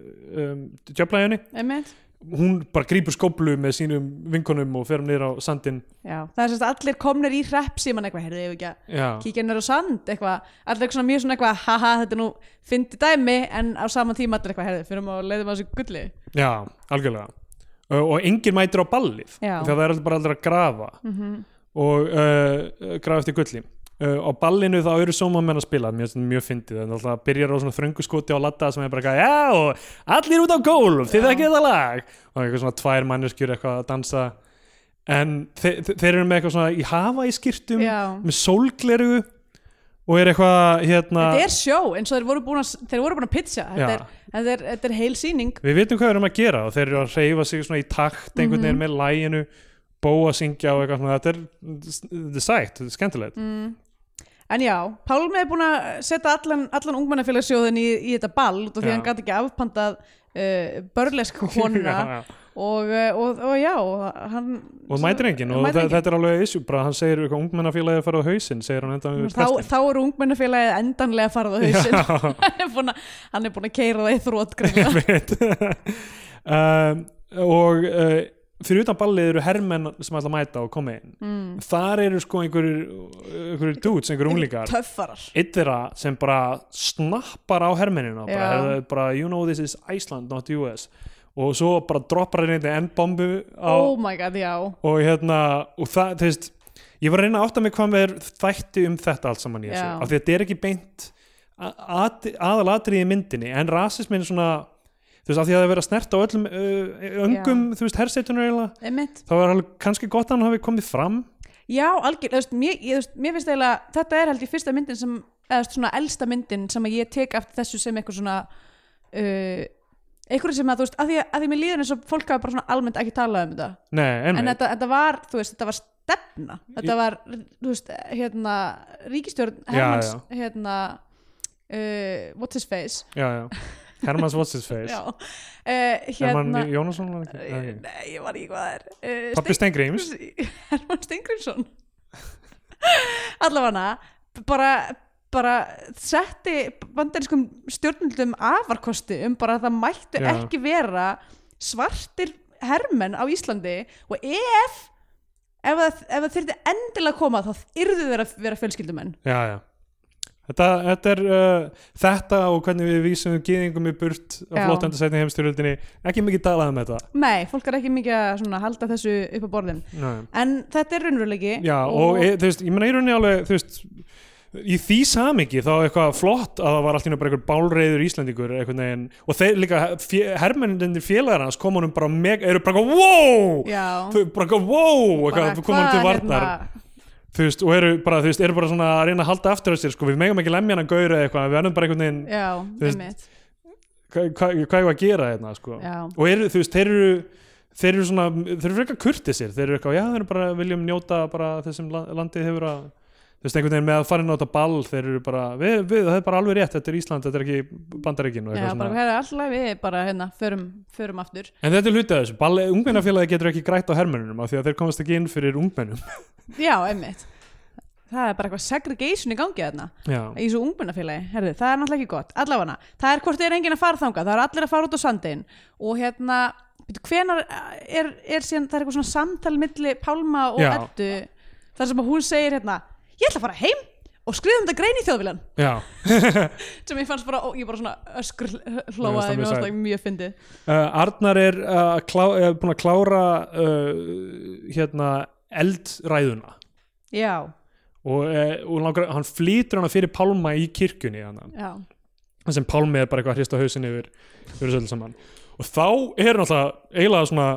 B: um, djöflæðinni
A: einmitt
B: hún bara grípur skóplu með sínum vinkonum og fer um niður á sandin
A: Já, það er semst allir komnir í hrepp síman eitthvað, heyrðu, ég hef ekki að
B: Já,
A: kíkja nýra á sand eitthvað, allir svona mjög svona eitthvað haha, þetta er nú fyndi dæmi en á sama tíma allir eitthvað, heyrðu, fyrir maður leiðum að þessu gulli
B: já algjörlega uh, og enginn mætir á ballið
A: Já.
B: þegar það er bara allir að grafa
A: mm -hmm.
B: Mhm. og uh, grafa eftir gulli uh, á ballinu þá eru sómamenn að spila mjög, mjög fyndið, þannig að það byrjar á svona þröngu skoti á latta sem er bara eitthvað já, og allir út á gólf, þið
A: Já.
B: ekki þetta lag og eitthvað svona tvær manneskjur eitthvað að dansa en þe þe þeir eru með eitthvað svona í hafa í skýrtum
A: Já,
B: með sólgleru og er eitthvað hérna
A: þetta er sjó eins og þeir voru búin að, þeir voru búin að pitcha þetta,
B: Já.
A: er, þetta, er, þetta er heil síning
B: við vitum hvað við erum að gera og þeir eru að reyfa sig svona í takt einhvern
A: Mhm.
B: veginn með læginu bóa syngja og eitthvað svona þetta er, þetta er sætt, þetta er skemmtilegt
A: En já, Pálmi er búin að setja allan, allan ungmennafélagsjóðin í, í þetta ball út af því
B: Já.
A: hann gæti ekki afpantað uh, börlesk konuna
B: Já, já.
A: og, eh, og, og já, hann
B: og mætir enginn og
A: Mætir
B: mætir
A: enginn.
B: þetta er alveg issue bara hann segir eitthvað ungmennafélagið að fara á hausinn segir hann endan við
A: þá, þá eru ungmennafélagið endanlega farið á hausinn
B: prestin
A: hann er búin að, hann er búin að keira það í þrótt greinilega.
B: um, og uh, fyrir utan ballið eru hermenn sem ætla að mæta og koma inn
A: mm.
B: þar eru sko einhverjir einhverjir dudes, einhverjir unglingar
A: töffarar
B: einn þeirra sem bara snappar á hermennina bara,
A: Já.
B: "Heyrðu, bara you know this is Iceland not US og svo bara droppar hann einhverjum endbombu á,
A: oh my god, já
B: og hérna og það, þú veist, ég var að reyna að átta mig hvað með þætti um þetta allt saman í þessu,
A: Já.
B: af því að þetta er ekki beint aðalatrið í myndinni en rasismin er svona þú veist, af því að það er verið að snerta á öllum uh, öngum, þú veist, hersetunar eiginlega
A: Einmitt.
B: þá er alveg kannski gott að hann hafi komið fram
A: já, algjör, þú veist, mér, ég, þú veist, mér finnst eiginlega þetta er held ég fyrsta myndin sem eða þú veist, svona elsta myndin sem að ég tek eftir þessu sem eitthvað svona uh, eitthvað sem að þú veist að því að, að því mér líður eins og fólk hafa bara svona almennt ekki talað um þetta
B: nei,
A: en
B: einmitt,
A: þetta, þetta var, þú veist, þetta var stefna þetta
B: Ég-
A: var, þú veist, hérna ríkistjórn
B: Já,
A: Hermans
B: já.
A: hérna uh, what's his face
B: já, já Hermanns what's his face
A: já, uh, hérna
B: Hermann Jónasson var ekki,
A: Eh,
B: nei.
A: Nei, ég var ekki hvað það er Eh,
B: Pappi Stengrims
A: Steingríms- Hermann Steingrímsson Allafana bara, bara setti bandariskum stjórnundum afarkosti um bara að það mættu
B: Já.
A: ekki vera svartir hermenn á Íslandi og ef ef það, ef það þyrfti endilega að koma þá yrðu þeir að vera fjölskyldumenn
B: já, já Þetta, þetta er uh, þetta og hvernig við vísum gýðingum í burt á
A: Já.
B: flótendasætni heimstyrjöldinni ekki mikið talað um þetta
A: Nei, fólk er ekki mikið að svona halda þessu upp á borðum
B: Nei.
A: En þetta er raunveruleiki
B: Já, og, e, þú veist, ég meina í rauninni alveg þú veist, í því samingi þá er eitthvað flott að það var allt í einu bara einhver bálreiður íslendingur einhvern veginn og þeir líka, fjö, hermennindir félagar hans kom honum bara mega, eru bara eitthvað wow,
A: Já.
B: þau bara eitthvað wow
A: Bara
B: eitthvað, kom honum til
A: hvað, hérna?"
B: varnar þú veist, og eru bara, þú veist, eru bara svona að reyna að halda aftur af sér, sko, við megum ekki lemja hann gaur eða eitthvað, við ennum bara einhvern veginn
A: hérna, Já,
B: Þú veist,
A: einmitt
B: hvað hva, hva ég var að gera hérna sko.
A: Já.
B: og eru, þú veist, þeir eru þeir eru svona, þeir eru frekar kurtisir þeir eru eitthvað, já þeir eru bara, viljum njóta bara þessum la- landið hefur að þú veist, einhvern veginn með að fara inn á þetta ball þeir eru bara, við, við, það er bara alveg rétt þetta er Ísland, þetta er ekki Bandaríkin og
A: Já,
B: eitthvað
A: bara
B: svona.
A: hérna alltaf við bara hérna, förum, förum aftur
B: en þetta er hluti af þessu, ball, ungmennafélagi getur ekki grætt á hermennunum af því að þeir komast ekki inn fyrir ungmennum
A: Já, einmitt Það er bara eitthvað segregation í gangi þarna
B: já,
A: í svo ungbunafélagi, herðu, það er náttúrulega ekki gott allavega, það er hvort er enginn að fara þangað það er allir að fara út á sandin og hérna, byrju, hvenar er, er síðan, það er eitthvað svona samtal milli Pálma og
B: Já.
A: Eddu þar sem að hún segir hérna, ég ætla að fara heim og skrifum þetta grein í þjóðvílan
B: já
A: sem ég fannst bara, ó, ég bara svona öskur
B: Mér fannst það
A: hlóaði, mér
B: mjög
A: fannst
B: sætt.
A: það mjög fyndið
B: uh, Arnar er, uh, klá, er búin að klára uh, hérna eldræðuna
A: já,
B: og, eh, og langar, hann flýtur hana fyrir Pálma í kirkjunni hann,
A: já,
B: sem Pálmi er bara eitthvað að hrista hausin yfir, yfir þessu öllu saman og þá er náttúrulega eiginlega svona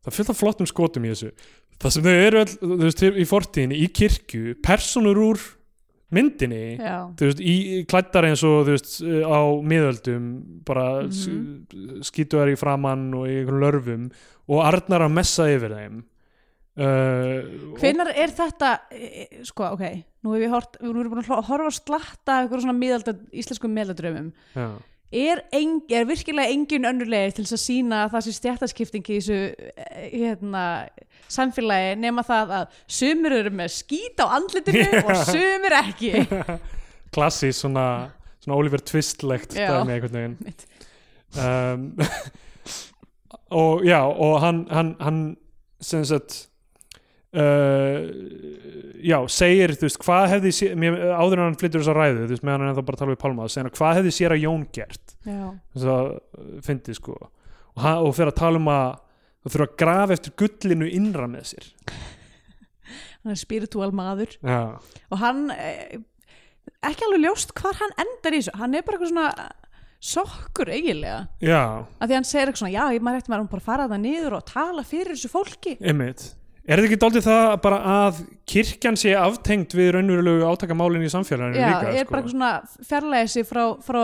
B: það er fyllt af flottum skotum í þessu það sem þau eru all, þú veist, í fortíðinni í kirkju, personur úr myndinni
A: já
B: þú veist, í klættar eins og þú veist, á miðöldum bara mm skýtuðar í framann og í einhverjum lörfum og Arnar að messa yfir þeim uh, og-
A: hvenar er þetta, e, e, sko, ok nú hef ég hort, nú erum við búin að hlo- horfa að slatta af einhverjum svona miðalda, íslenskum miðaldrömmum
B: já,
A: er, eng, er virkilega engin önnurlega til þess að sína það sem stjættaskipting í þessu eh, hérna, samfélagi nema það að sumir eru með skít á andlitinu og sumir ekki
B: klassís svona, svona Oliver Twistlegt
A: Já.
B: dæmi einhvern veginn
A: Mitt.
B: um, og já og hann, hann, hann sem sagt uh, já, segir þú veist, hvað hefði sé- mér, áður en hann flyttur þess að ræðu, þú veist, meðan hann er það bara að tala við Pálma segir hann, hvað hefði sér að Jón gert
A: Já,
B: þess að fyndi sko og, hann, og fyrir að tala um að þú þurfa að grafa eftir gullinu innra með sér
A: hann er spirituál maður
B: já,
A: og hann eh, ekki alveg ljóst hvar hann endar í þessu hann er bara eitthvað svona sokkur eiginlega
B: já,
A: að því hann segir eitthvað svona já, ég maður eftir maður bara að fara það niður og tala fyrir þessu fólki
B: einmitt er þetta ekki dálítið það bara að kirkjan sé aftengt við raunverulegu átakamálin í samfélaginu
A: já,
B: líka sko?
A: er bara eitthvað svona fjarlæði sig frá, frá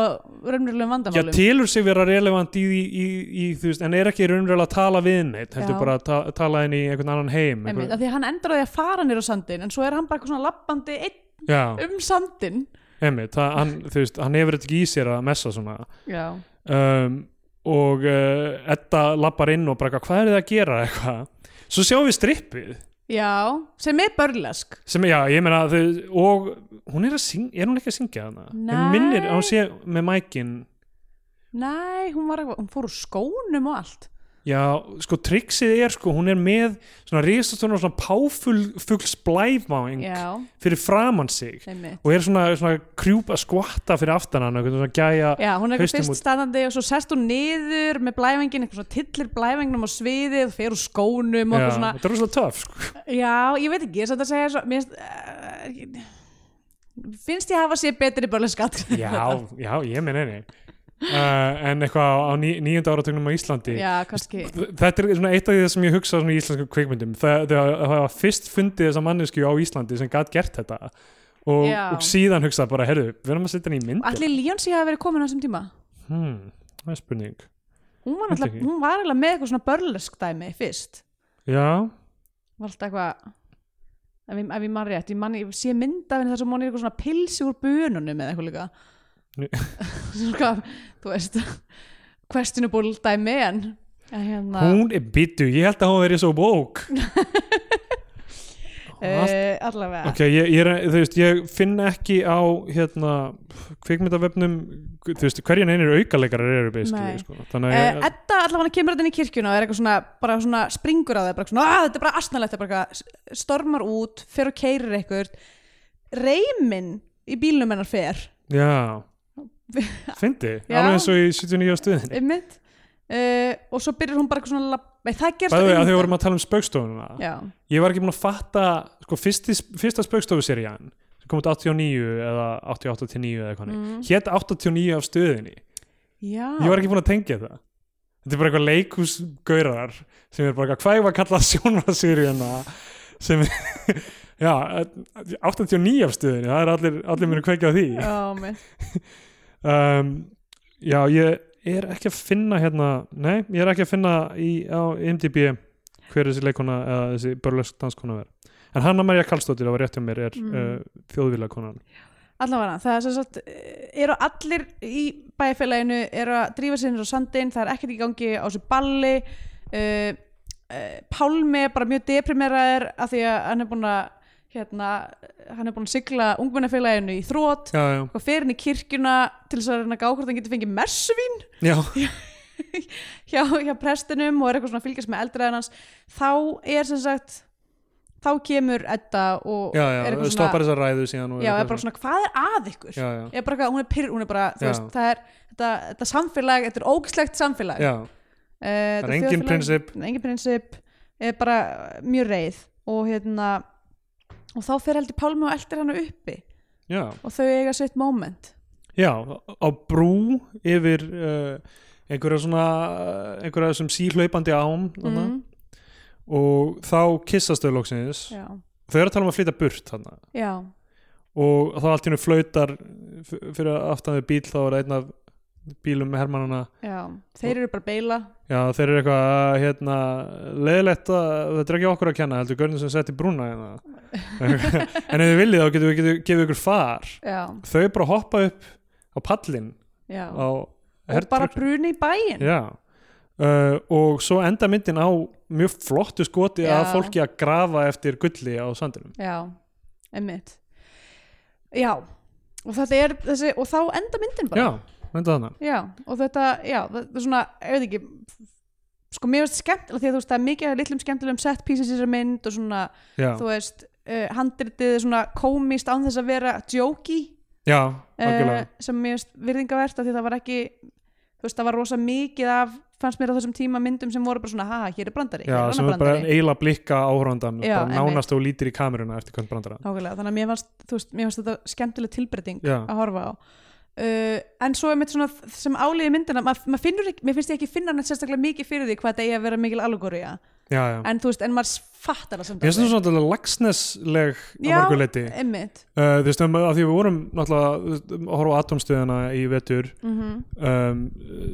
A: raunverulegum
B: Já,
A: vandamálum
B: tilur sig vera relevant í, í, í, í þú veist, en er ekki raunverulega að tala við neitt, heldur
A: Já.
B: bara að ta tala henni í einhvern annan heim.
A: Einmitt,
B: Einhver,
A: af því að hann endar á því að fara nýra á sandin en svo er hann bara eitthvað svona lappandi einn
B: já,
A: um sandin
B: einmitt, það, hann, þú veist, hann hefur þetta ekki í sér að messa svona.
A: já,
B: Um, og uh, Edda lappar inn og bara, eitthvað, hvað er það að gera eitthvað? Svo sjáum við strippið,
A: sem er börlesk
B: sem, já, ég meina, þau, og hún er að syngja, er hún ekki að syngja þarna?
A: Nei.
B: Hún minnir, að hún sé með mækin,
A: nei, hún, var, eitthvað- hún fór úr skónum og allt
B: Já, sko triksið er sko, hún er með svona risastóna svona páfugls blæfmáing
A: já,
B: fyrir framann sig
A: einmitt
B: og er svona, svona krjúp að skvatta fyrir aftan hann, einhvern svona gæja
A: Já, hún er eitthvað
B: Haustum
A: fyrst
B: út.
A: standandi og svo sest hún niður með blæfingin, eitthvað svona tillir blæfingnum á sviðið, fer úr skónum og
B: já,
A: eitthvað svona,
B: þetta er svona töff sko.
A: já, ég veit ekki, ég er samt að segja svo, mér finnst, uh, ég- finnst ég hafa sér betri börleskatt
B: Já, já, ég minn einni uh, en eitthvað á ní, níunda áratugnum á Íslandi
A: já, kannski
B: Þetta er svona eitt af því sem ég hugsa svona í íslenskum kvikmyndum það, það, það var fyrst fundið þessa mannesku á Íslandi sem gat gert þetta og,
A: Já.
B: og síðan hugsa bara, herru, við erum að setja hann í myndi
A: allir Líonsi hafa verið komin á þessum tíma
B: hmm, það er spurning
A: hún var,
B: Held
A: alltaf,
B: ekki.
A: hún var eiginlega með eitthvað svona börlesk dæmi fyrst
B: Já,
A: var alltaf eitthvað ef ég, ef ég man rétt, ég, man, ég sé myndafinn þar sem hún er eitthvað svona pilsi úr bönunum eða eitthvað líka
B: Nú.
A: svona, þú veist questionable dæmi en en hérna
B: Hún er bitu, ég held að hún verið svo bók Allt,
A: eh, allavega
B: Ok, ég, ég, er- þú veist, ég finn ekki á hérna, kvikmyndavefnum þú veist, hverjan einir aukaleikarar eru basically,
A: Nei.
B: sko. þannig að
A: Eh,
B: ég,
A: Edda allavega kemur þetta inn í kirkjuna og er eitthvað svona, bara svona springur að það bara svona, að þetta er bara astnalegt, þetta er bara eitthvað, stormar út fer og keirir eitthvað reymin í bílnum hennar fer
B: já fyndi,
A: Já.
B: alveg eins og í 79 stuðin
A: einmitt uh, og svo byrjar hún bara eitthvað svona lab... Nei, það gerst
B: bæði að þau vorum að tala um spaukstofununa
A: já,
B: ég var ekki búin að fatta sko, fyrsti, fyrsta spaukstofuserían sem kom út 89 eða 88 til 9 eða hvernig, mm.
A: Mm.
B: hétt 89 af stöðinni
A: já.
B: ég var ekki búin að tengja það þetta er bara eitthvað leikhúsgaurar sem er bara eitthvað, hvað ég var að kalla sjónvarseríana sem já, 89 af stöðinni það er allir, allir mér að kveikja á því
A: já, einmitt.
B: um, já, ég er ekki að finna hérna, nei, ég er ekki að finna í, á IMDb hver þessi leikona eða þessi börlösk danskona verð en Hanna Maria Karlsdóttir, það var rétt hjá mér er mm.
A: Mm.
B: uh, þjóðvílakonan
A: allavega það er sem sagt eh, eru allir í bæfélaginu eru að drífa sér á sandin það er ekkert í gangi á þessu balli uh, uh, Pálmi er bara mjög deprimeraður af því að hann er búin að hérna, hann er búin að sigla ungmennafélaginu í þrótt
B: já, já,
A: og fer hann í kirkjuna til þess að reyna að gá hvort hann getur fengið messuvín
B: já,
A: hjá, hjá prestinum og er eitthvað svona að fylgjast með eldræðan hans þá er sem sagt þá kemur Edda og
B: já,
A: er
B: já
A: eitthvað svona,
B: stoppar þessar ræðu síðan og
A: já, er
B: eitthvað
A: bara svona hvað er að ykkur
B: já, já,
A: er bara eitthvað, hún er pyrr, hún er bara þú
B: Já.
A: veist, það er þetta, þetta samfélag, þetta er ógislegt samfélag
B: já,
A: Eh, þetta
B: það er engin
A: þjóðfélag-
B: prinsip
A: engin prinsip er bara eh, mjög reið og hérna og þá fer heldur Pálmi og eldir hana uppi
B: já,
A: og þau eiga sitt moment
B: já, á brú yfir uh, einhverja svona einhverja sem síhlaupandi ám mm.
A: mm,
B: og þá kissast þau loksins
A: já,
B: þau eru að tala um að flytja burt þarna
A: já,
B: og þá allt í hennu flautar f- fyrir aftan við bíl þá er það einn af bílum með hermannana
A: já þeir eru bara að beila
B: já þeir eru eitthvað hérna leiðilegt að þetta er ekki okkur að kenna heldur görnum sem setti brúna hérna en ef þið viljið þá getum við getum, gefið ykkur far
A: já,
B: þau bara hoppa upp á pallin
A: já
B: á
A: og bara
B: hertrökk-
A: bruni í bæinn
B: já Uh, og svo enda myndin á mjög flottu skoti
A: Já.
B: að fólki að grafa eftir gulli á sandinum
A: já, emmitt já, og þetta er þessi, og þá enda myndin bara
B: já, mynda þannig
A: já og þetta, já, þetta er svona ég veit ekki, sko mér finnst skemmtilega því að þú veist það er mikið af litlum skemmtilegum set pieces í þessari mynd og svona,
B: já,
A: þú veist uh, handritið er svona komist án þess að vera djóki
B: já,
A: uh,
B: algjörlega
A: sem mér finnst virðingavert af því að það var ekki þú veist, það var rosa mikið af fannst mér á þessum tíma myndum sem voru bara svona haha, hér er brandari, hér
B: Já,
A: er
B: sem
A: annar
B: er bara
A: brandari
B: eiginlega blikka áhórandan
A: Já,
B: bara nánast og lítir í kameruna eftir hvern brandara
A: Nákvæmlega, þannig að mér fannst, þú veist, mér fannst þetta skemmtileg tilbreyting
B: Já.
A: að horfa á uh, en svo er mitt svona þ- sem áliði myndina mað, mað finnur, ekki- mér finnst ég ekki finna neitt sérstaklega mikið fyrir því hvað þetta eigi að vera mikil algóriða
B: Já, já.
A: en þú veist, en maður s- fattar það samt
B: Mér finnst það svona lagsnesleg að
A: Já.
B: mörgu leiti
A: einmitt
B: uh, Þú veist, um, að því við vorum náttúrulega þú veist, um, að horfa á atomstöðina í vetur
A: mm -hmm.
B: um,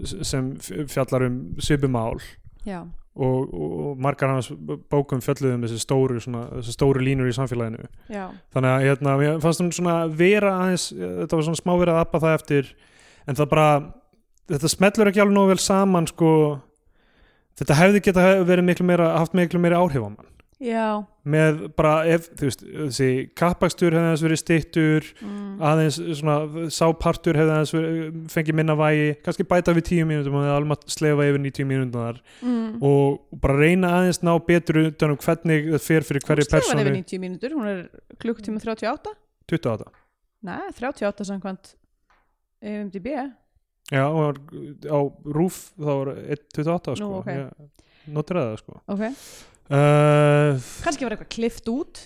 B: s- sem f- fjallar um svipumál
A: já,
B: og, og, og margar hans bókum fjölluðu um þessi stóru, svona, þessi stóru línur í samfélaginu
A: já,
B: þannig að hérna, mér fannst hún svona vera aðeins, eh, þetta var svona smá verið að appa það eftir en það bara þetta smellur ekki alveg nógu vel saman sko, þetta hefði geta verið miklu meira, haft miklu meira áhrif á mann
A: já
B: með bara ef, þú veist, þessi kappakstur hefði aðeins verið stittur
A: mm,
B: aðeins svona sápartur hefði aðeins verið, fengið minna vægi kannski bæta við tíu mínútum og það alveg slefa yfir 90 mínútum þar
A: mm.
B: og bara reyna aðeins ná betur utan um hvernig það fer fyrir hverju
A: Hún skrifar
B: personu
A: yfir 90 mínútur, hún er klukktíma 38
B: 28
A: nei, 38 samkvæmt IMDb
B: Já, og var, á rúf þá var 1.28 sko.
A: Nú, ok.
B: Ég notir það sko.
A: ok,
B: Uh,
A: kannski var eitthvað klift út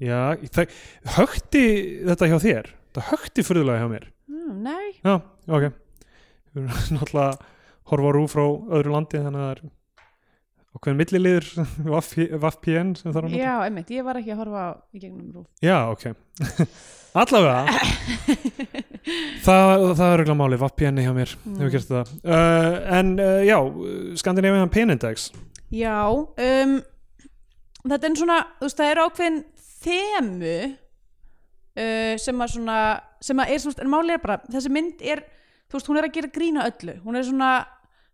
B: já, það, högti þetta hjá þér? Það högti furðulega hjá mér.
A: mm, nei,
B: Já, ok. Við erum náttúrulega horfa á rúf frá öðru landi þannig að það er ákveðin milliliður VAFPN sem þarf að nota.
A: já, einmitt, ég var ekki að horfa á- í gegnum rúf
B: Já, ok. Allavega. það, það er auðvitað máli, VAFPN hjá mér. Mm. Hefur gert það. Uh, en uh, já, Skandinavian Pain Index.
A: Já, um, þetta er svona, þú veist, það er ákveðin þemu uh, sem að svona, sem að er svona, en málið er bara, þessi mynd er, þú veist, hún er að gera grína öllu, hún er svona,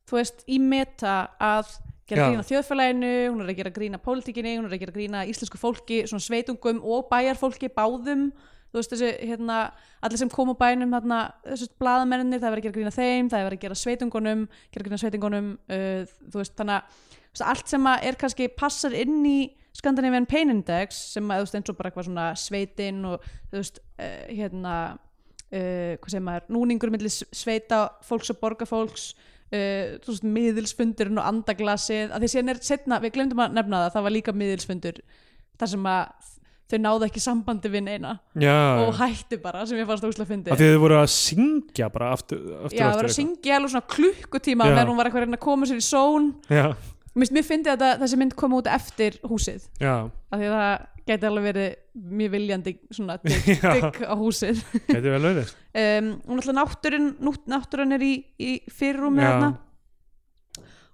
A: þú veist, í meta að gera
B: Já.
A: grína þjóðfélaginu, hún er að gera grína pólitíkinni, hún er að gera grína íslensku fólki, svona sveitungum og bæjarfólki báðum, þú veist, þessi, hérna, allir sem kom á bænum, hérna, þessi blaðamenninni, það er verið að gera grína þeim, það er verið að gera sveitungunum, gera grína sveitungunum, uh, þú veist, þannig að þú veist, allt sem að er kannski passar inn í Scandinavian Pain Index sem að þú veist eins og bara eitthvað svona sveitinn og þú veist uh, hérna uh, hvað segir maður, núningur milli s- sveita fólks og borgarfólks uh, þú veist miðilsfundurinn og andaglasið að því síðan er setna, við glemdum að nefna það það var líka miðilsfundur þar sem að þau náðu ekki sambandi við neina
B: já,
A: og hættu bara sem ég fannst óslega fyndi
B: af því að þið voru að syngja bara aftur, aftur,
A: Já, það
B: aftur
A: var að syngja alveg svona klukkutíma
B: Já.
A: meðan hún var eitthvað að reyna að koma sér í són
B: já,
A: Mér finnst- mér fyndi að það- þessi mynd kom út eftir húsið
B: já,
A: af því að það gæti alveg verið mjög viljandi svona digg,
B: já
A: digg á húsið
B: gæti vel verið
A: um, og náttúrulega náttúrun, nút, náttúrun er í, í fyrrum
B: Já.
A: þarna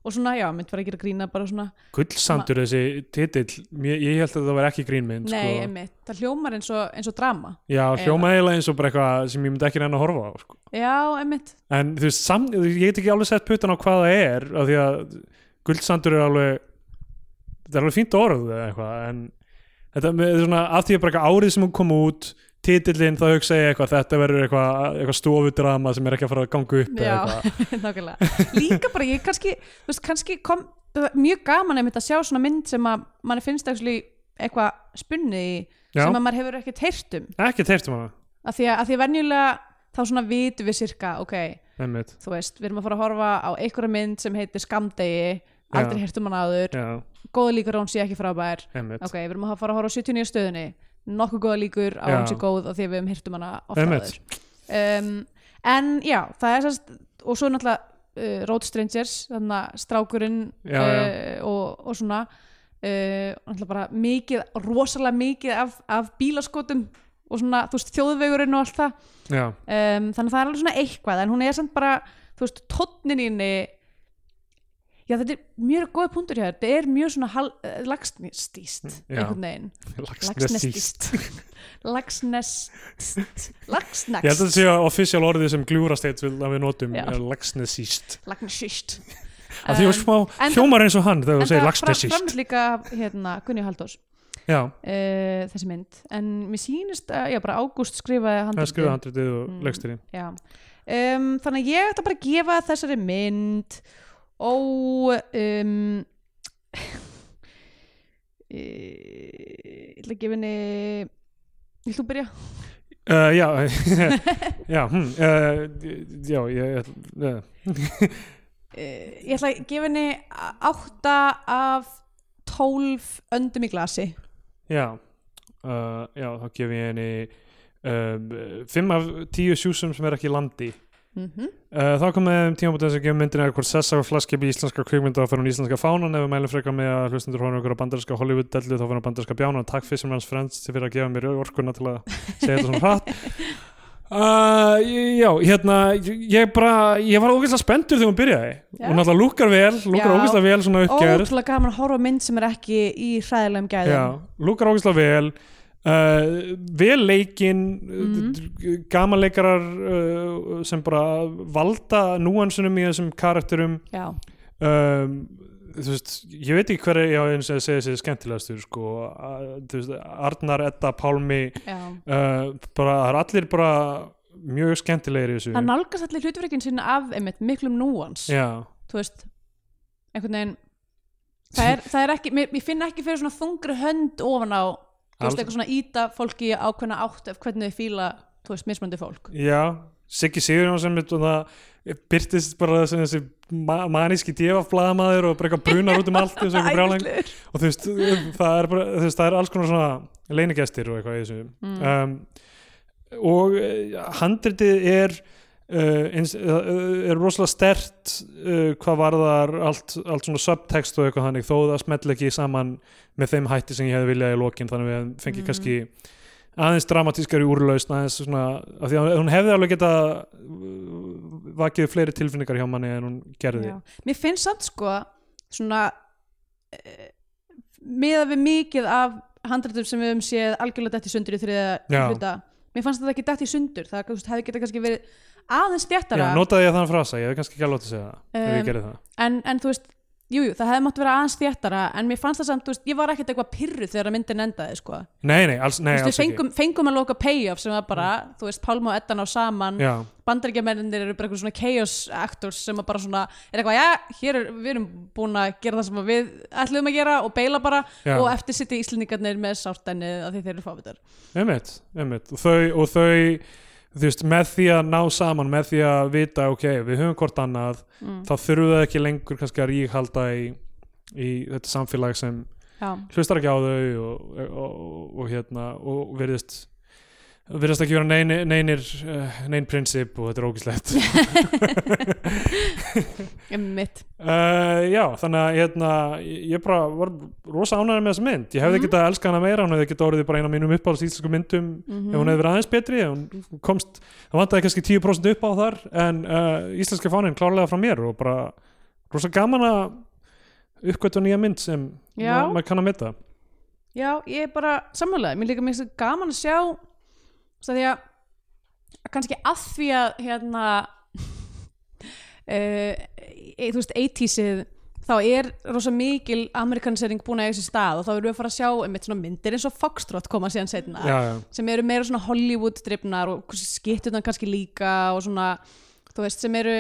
A: og svona, já, mynd var að gera grína bara svona,
B: gullsandur þessi titill Mér- ég held að það var ekki grínmynd
A: nei,
B: sko.
A: einmitt það hljómar eins og, eins og drama
B: já,
A: Ef-
B: hljóma eiginlega eins og bara eitthvað sem ég myndi ekki reyna að horfa á sko.
A: já, einmitt,
B: en þú veist, sam, ég get ekki alveg sett putan á hvað það er af því að guldsandur er alveg þetta er alveg fínt orð eða eitthvað en þetta er svona af því að bara eitthvað árið sem hún kom út titillinn þá hugsa ég eitthvað þetta verður eitthvað, eitthvað stofudrama sem er ekki að fara að ganga upp eða
A: Já.
B: eitthvað.
A: nákvæmlega líka bara ég kannski, þú veist, kannski kom það var mjög gaman einmitt að sjá svona mynd sem að manni finnst actually eitthvað spunni í,
B: Já.
A: sem að maður hefur ekkert heyrt um,
B: ekki teirtum hana,
A: af því að, að því að venjulega þá svona vitum við sirka, ok
B: einmitt
A: þú veist, við erum að fara að horfa á einhverja mynd sem heitir Skamdegi aldrei
B: Já.
A: hirt um hann áður,
B: já,
A: góða líkur á hún sé ekki frábær
B: einmitt,
A: ok, við erum að fara að horfa á 79 stöðunni nokkuð góða líkur á
B: Já.
A: hún sé góð og því að við erum hirt um hana ofta
B: einmitt.
A: áður um, en já, það er sérst og svo náttúrulega uh, Road Strangers þannig að strákurinn
B: Já,
A: uh, og, og svona uh, náttúrulega bara mikið, rosalega mikið af, af bílaskotum og svona, þú veist, þjóðvegurinn og allt það
B: já,
A: um, þannig að það er alveg svona eitthvað en hún er samt bara, þú veist, tónnin inni já þetta er mjög góð punktur hjá þér, þetta er mjög svona hal, eh, lagsnestíst
B: Mm, Já.
A: einhvern veginn,
B: lagsnesist
A: lagsnestíst lagsnest
B: Ég held að þetta
A: lagsnest
B: sé að official orðið sem glúrasteit vil að við notum
A: Já.
B: er lagsnesist.
A: lagsnestíst
B: Af því að smá
A: Um, en-
B: hljómar eins og hann þegar þú segir
A: fram,
B: lagsnesist.
A: fram líka hérna, Gunni Haldós
B: Já,
A: uh, þessi mynd, en mér sýnist að já, bara Ágúst skrifaði
B: það er
A: handritið.
B: skrifað handritið og
A: Mm.
B: mm. legstirinn.
A: Já. Um, þannig að ég ætla bara að gefa þessari mynd og um, ég ætla að gefa henni Vilt þú byrja?
B: Uh, já, já, hm, uh, já, ég, uh,
A: Uh, ég ætla að gefa henni átta af tólf öndum í glasi
B: já, uh, já, þá gef ég henni um, fimm af tíu sjúsum sem er ekki í landi.
A: mm
B: Uh, þá komum við um tímabútið sem gefum myndin eða hvort sessa og flaskip í íslenska kvikmynda þá fyrir hún íslenska fánan ef við mælum frekar með að hlustendur hóna okkur á bandarinska Hollywood-dellu þá fyrir hún bandarinska bjána og takk Fisherman's Friends fyrir að gefa mér orkuna til að segja þetta svona hratt uh, Já, hérna ég- ég bara, ég var ógeðslega spenntur þegar hún byrjaði
A: Já.
B: hún alltaf lúkar vel, lúkar
A: Já.
B: ógeðslega vel svona uppgerð
A: Ótrúlega gaman að horfa á mynd sem er ekki í hræðilegum gæðum
B: Já, lúkar ógeðslega vel Uh, vel leikinn
A: Mhm.
B: mm. gamanleikarar uh, sem bara valda núansunum í þessum karakterum
A: Já,
B: um, þú veist, ég veit ekki hver er já, eins og að segja þessi skemmtilegastur sko, að, þú veist, Arnar, Edda, Pálmi
A: já.
B: uh, bara, það er allir bara mjög skemmtilegir í þessu
A: Það nálgast allir hlutverkin sinna af einmitt miklum núans
B: já,
A: þú veist einhvern veginn það er, það er ekki, mér, ég finn ekki fyrir svona þungri hönd ofan á þú
B: Alls-
A: veist, eitthvað svona íta fólki í ákveðna átt af hvernig þau fíla, þú veist, mismöndi fólk
B: já Siggi Sigurjón sem er svona byrtist bara sem þessi ma maníski djöfaflaðamaður og bara eitthvað brunar út um allt eins og eitthvað brjálæng
A: Æðislegur.
B: og þú veist, það er bara, þú veist, það er alls konar svona leinigestir og eitthvað í þessu
A: Mm.
B: um, og eh, handritið er uh, eins, uh, er rosalega stert uh, hvað varðar allt, allt svona subtext og eitthvað þannig þó það smell ekki saman með þeim hætti sem ég hefði viljað í lokin þannig að við fengi
A: Mm.
B: kannski aðeins dramatískari úrlausn aðeins svona, af því að hún hefði alveg geta vakið fleiri tilfinningar hjá manni en hún gerði
A: Já. mér finnst samt sko svona eh, miða við mikið af handrættum sem við höfum séð algjörlega dætt í sundur í þriða
B: Já.
A: hluta mér fannst þetta ekki dætt í sundur það þú veist, hefði geta kannski verið aðeins
B: Já,
A: stjættara
B: notaði ég þann frasa, ég hefði kannski ekki alveg átt að segja það ef
A: Um,
B: ég gerði það
A: en, en þú veist Jújú, jú, það hefði mátt vera aðeins þéttara en mér fannst það samt, þú veist, ég var ekkert eitthvað pyrru þegar myndin endaði, sko
B: Nei, nei, alls, nei,
A: Þú veist,
B: alls
A: við fengum, fengum að loka payoff sem var bara, þú veist, Pálma og Edda ná saman
B: ekki Já,
A: bandaríkjamennir eru bara eitthvað svona chaos actors sem að bara svona er eitthvað, já, hér er, við erum búin að gera það sem að við ætlum að gera og beila bara
B: Já.
A: og eftir sitja íslendingarnir með sártennið að því þeir eru fávitar
B: einmitt, einmitt og þau, og þau þú veist, með því að ná saman með því að vita, ok, við höfum hvort annað
A: mm.
B: þá þurfum við ekki lengur kannski að ríhalda í, í þetta samfélag sem
A: Já,
B: hlustar ekki á þau og, og, og, og hérna og virðist virðist ekki vera nein, neinir eh, nein prinsip og þetta er ógislegt
A: mitt
B: uh, já, þannig að hérna, ég ég bara var rosa ánægður með þessa mynd, ég hefði
A: Mhm.
B: mm. getað elskað hana meira hún hefði getað orðið bara eina af mínum uppáhalds íslensku myndum
A: Mhm.
B: ef hún hefði verið aðeins betri ef hún komst, það vantaði kannski 10% upp á þar en uh, íslenska fáninn klárlega frá mér og bara rosa gaman að uppgötu nýja mynd sem
A: Já.
B: ma- maður kann að metta
A: Já, ég er bara sammálaði, mér líka mér finnst gaman að sjá þess að því að kannski að því að hérna uh, e, þú veist, 80-sið þá er rosa mikil amerikanisering búin að eiga sér stað og þá erum við að fara að sjá einmitt svona myndir eins og Foxtrot koma síðan setna
B: já, já,
A: sem eru meira svona Hollywood drifnar og skittunan kannski líka og svona, þú veist, sem eru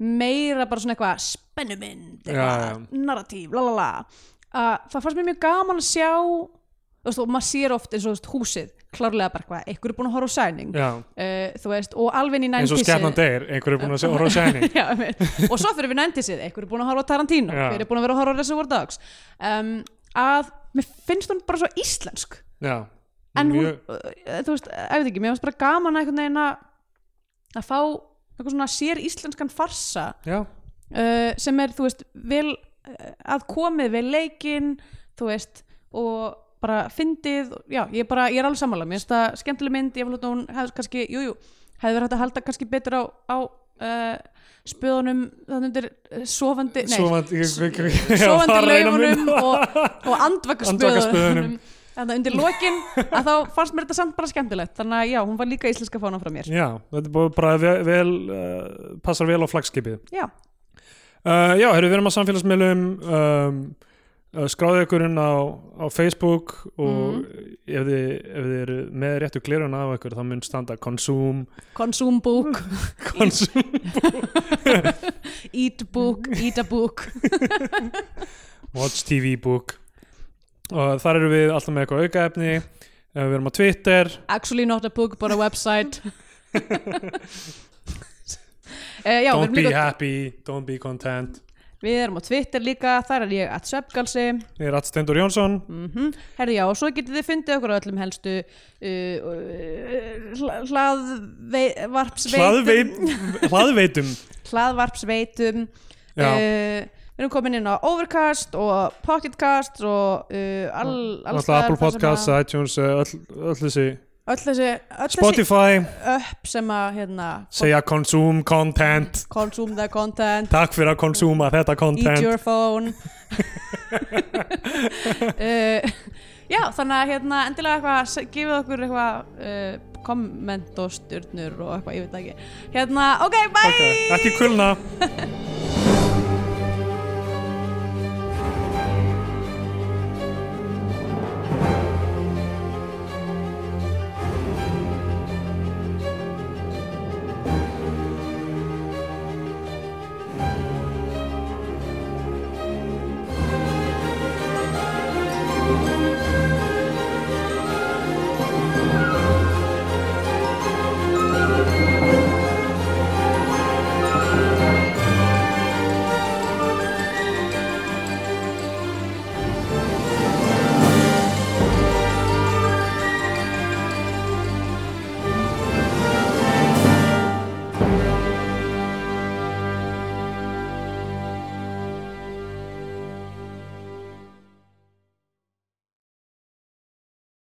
A: meira bara svona eitthvað spennumynd,
B: Já,
A: eitthvað, narratív lalala, uh, það fannst mér mjög gaman að sjá þú veist, og maður sér oft eins og þú veist, húsið, klárlega bara eitthvað, eitthvað er búin að horfa á sæning
B: já.
A: uh, þú veist, og alveg inn í
B: eins og
A: 90s-ið.
B: skefnan deyr, einhver er búin að sjá horfa á sæning
A: Já, einmitt. og svo fyrir við nændisið, einhver er búin að horfa á Tarantino
B: Já.
A: hver er búin að vera að horfa á Reservoir Dogs um, að mér finnst hún bara svo íslensk
B: já,
A: en hún,
B: mjög,
A: uh, þú veist, ef þetta ekki mér finnst bara gaman að einhvern veginn að að fá eitthvað svona sér íslenskan farsa
B: já,
A: uh, sem er, þú veist, vel uh, að komið við leikinn þú veist, og bara fyndið, og- já, ég er bara, ég er alveg sammála mér finnst það skemmtileg mynd, ég vil að hún hefði kannski, jújú, jú, hefði verið hægt að halda kannski betur á, á uh, spöðunum, þannig undir eh, sofandi, nei,
B: sofandi
A: sofandi laufunum og, og andvakaspöðunum
B: Andvakaspöðunum.
A: þannig að undir lokin að þá fannst mér þetta samt bara skemmtilegt þannig að já, hún var líka íslenska fána frá mér
B: já, þetta er bara- bara vel, vel uh, passar vel á flagskipið
A: já,
B: Uh, já, heyrðu, við erum á samfélagsmiðlum um, uh, skráðu ykkur inn á, á Facebook og
A: Mhm.
B: ef, þið, ef þið eru með réttu glerun af ykkur þá mun standa consume,
A: konsumbúk,
B: consume
A: eatbúk eatabúk,
B: watch TV book og þar eru við alltaf með eitthvað aukaefni uh, við erum á Twitter
A: actually not a book but a website uh, já, við
B: don't
A: erum,
B: be
A: líka,
B: happy, don't be content
A: við erum á Twitter líka þar er ég at svefgalsi
B: ég er Atstendur Jónsson
A: mm herri já, og svo getið þið fundið okkur á öllum helstu uh, uh, hlaðvarpsveitum
B: Hlaðveit- hlaðveitum
A: hlaðvarpsveitum
B: Já.
A: Eh, við erum komin inn á Overcast og Pocketcast og uh, all, alls
B: alltaf Apple
A: staðar þar
B: Podcasts,
A: sem að-
B: iTunes, uh, öll, öll þessi
A: öll þessi, öll þessi
B: Spotify,
A: upp sem að hérna,
B: segja consume content
A: consume the content
B: Takk fyrir að konsúma þetta
A: eat
B: content
A: your phone uh, já þannig að hérna, endilega eitthvað se- gefið okkur eitthvað uh, komment og stjörnur og eitthvað, ég veit það ekki hérna, ok, bye
B: Ekki kulna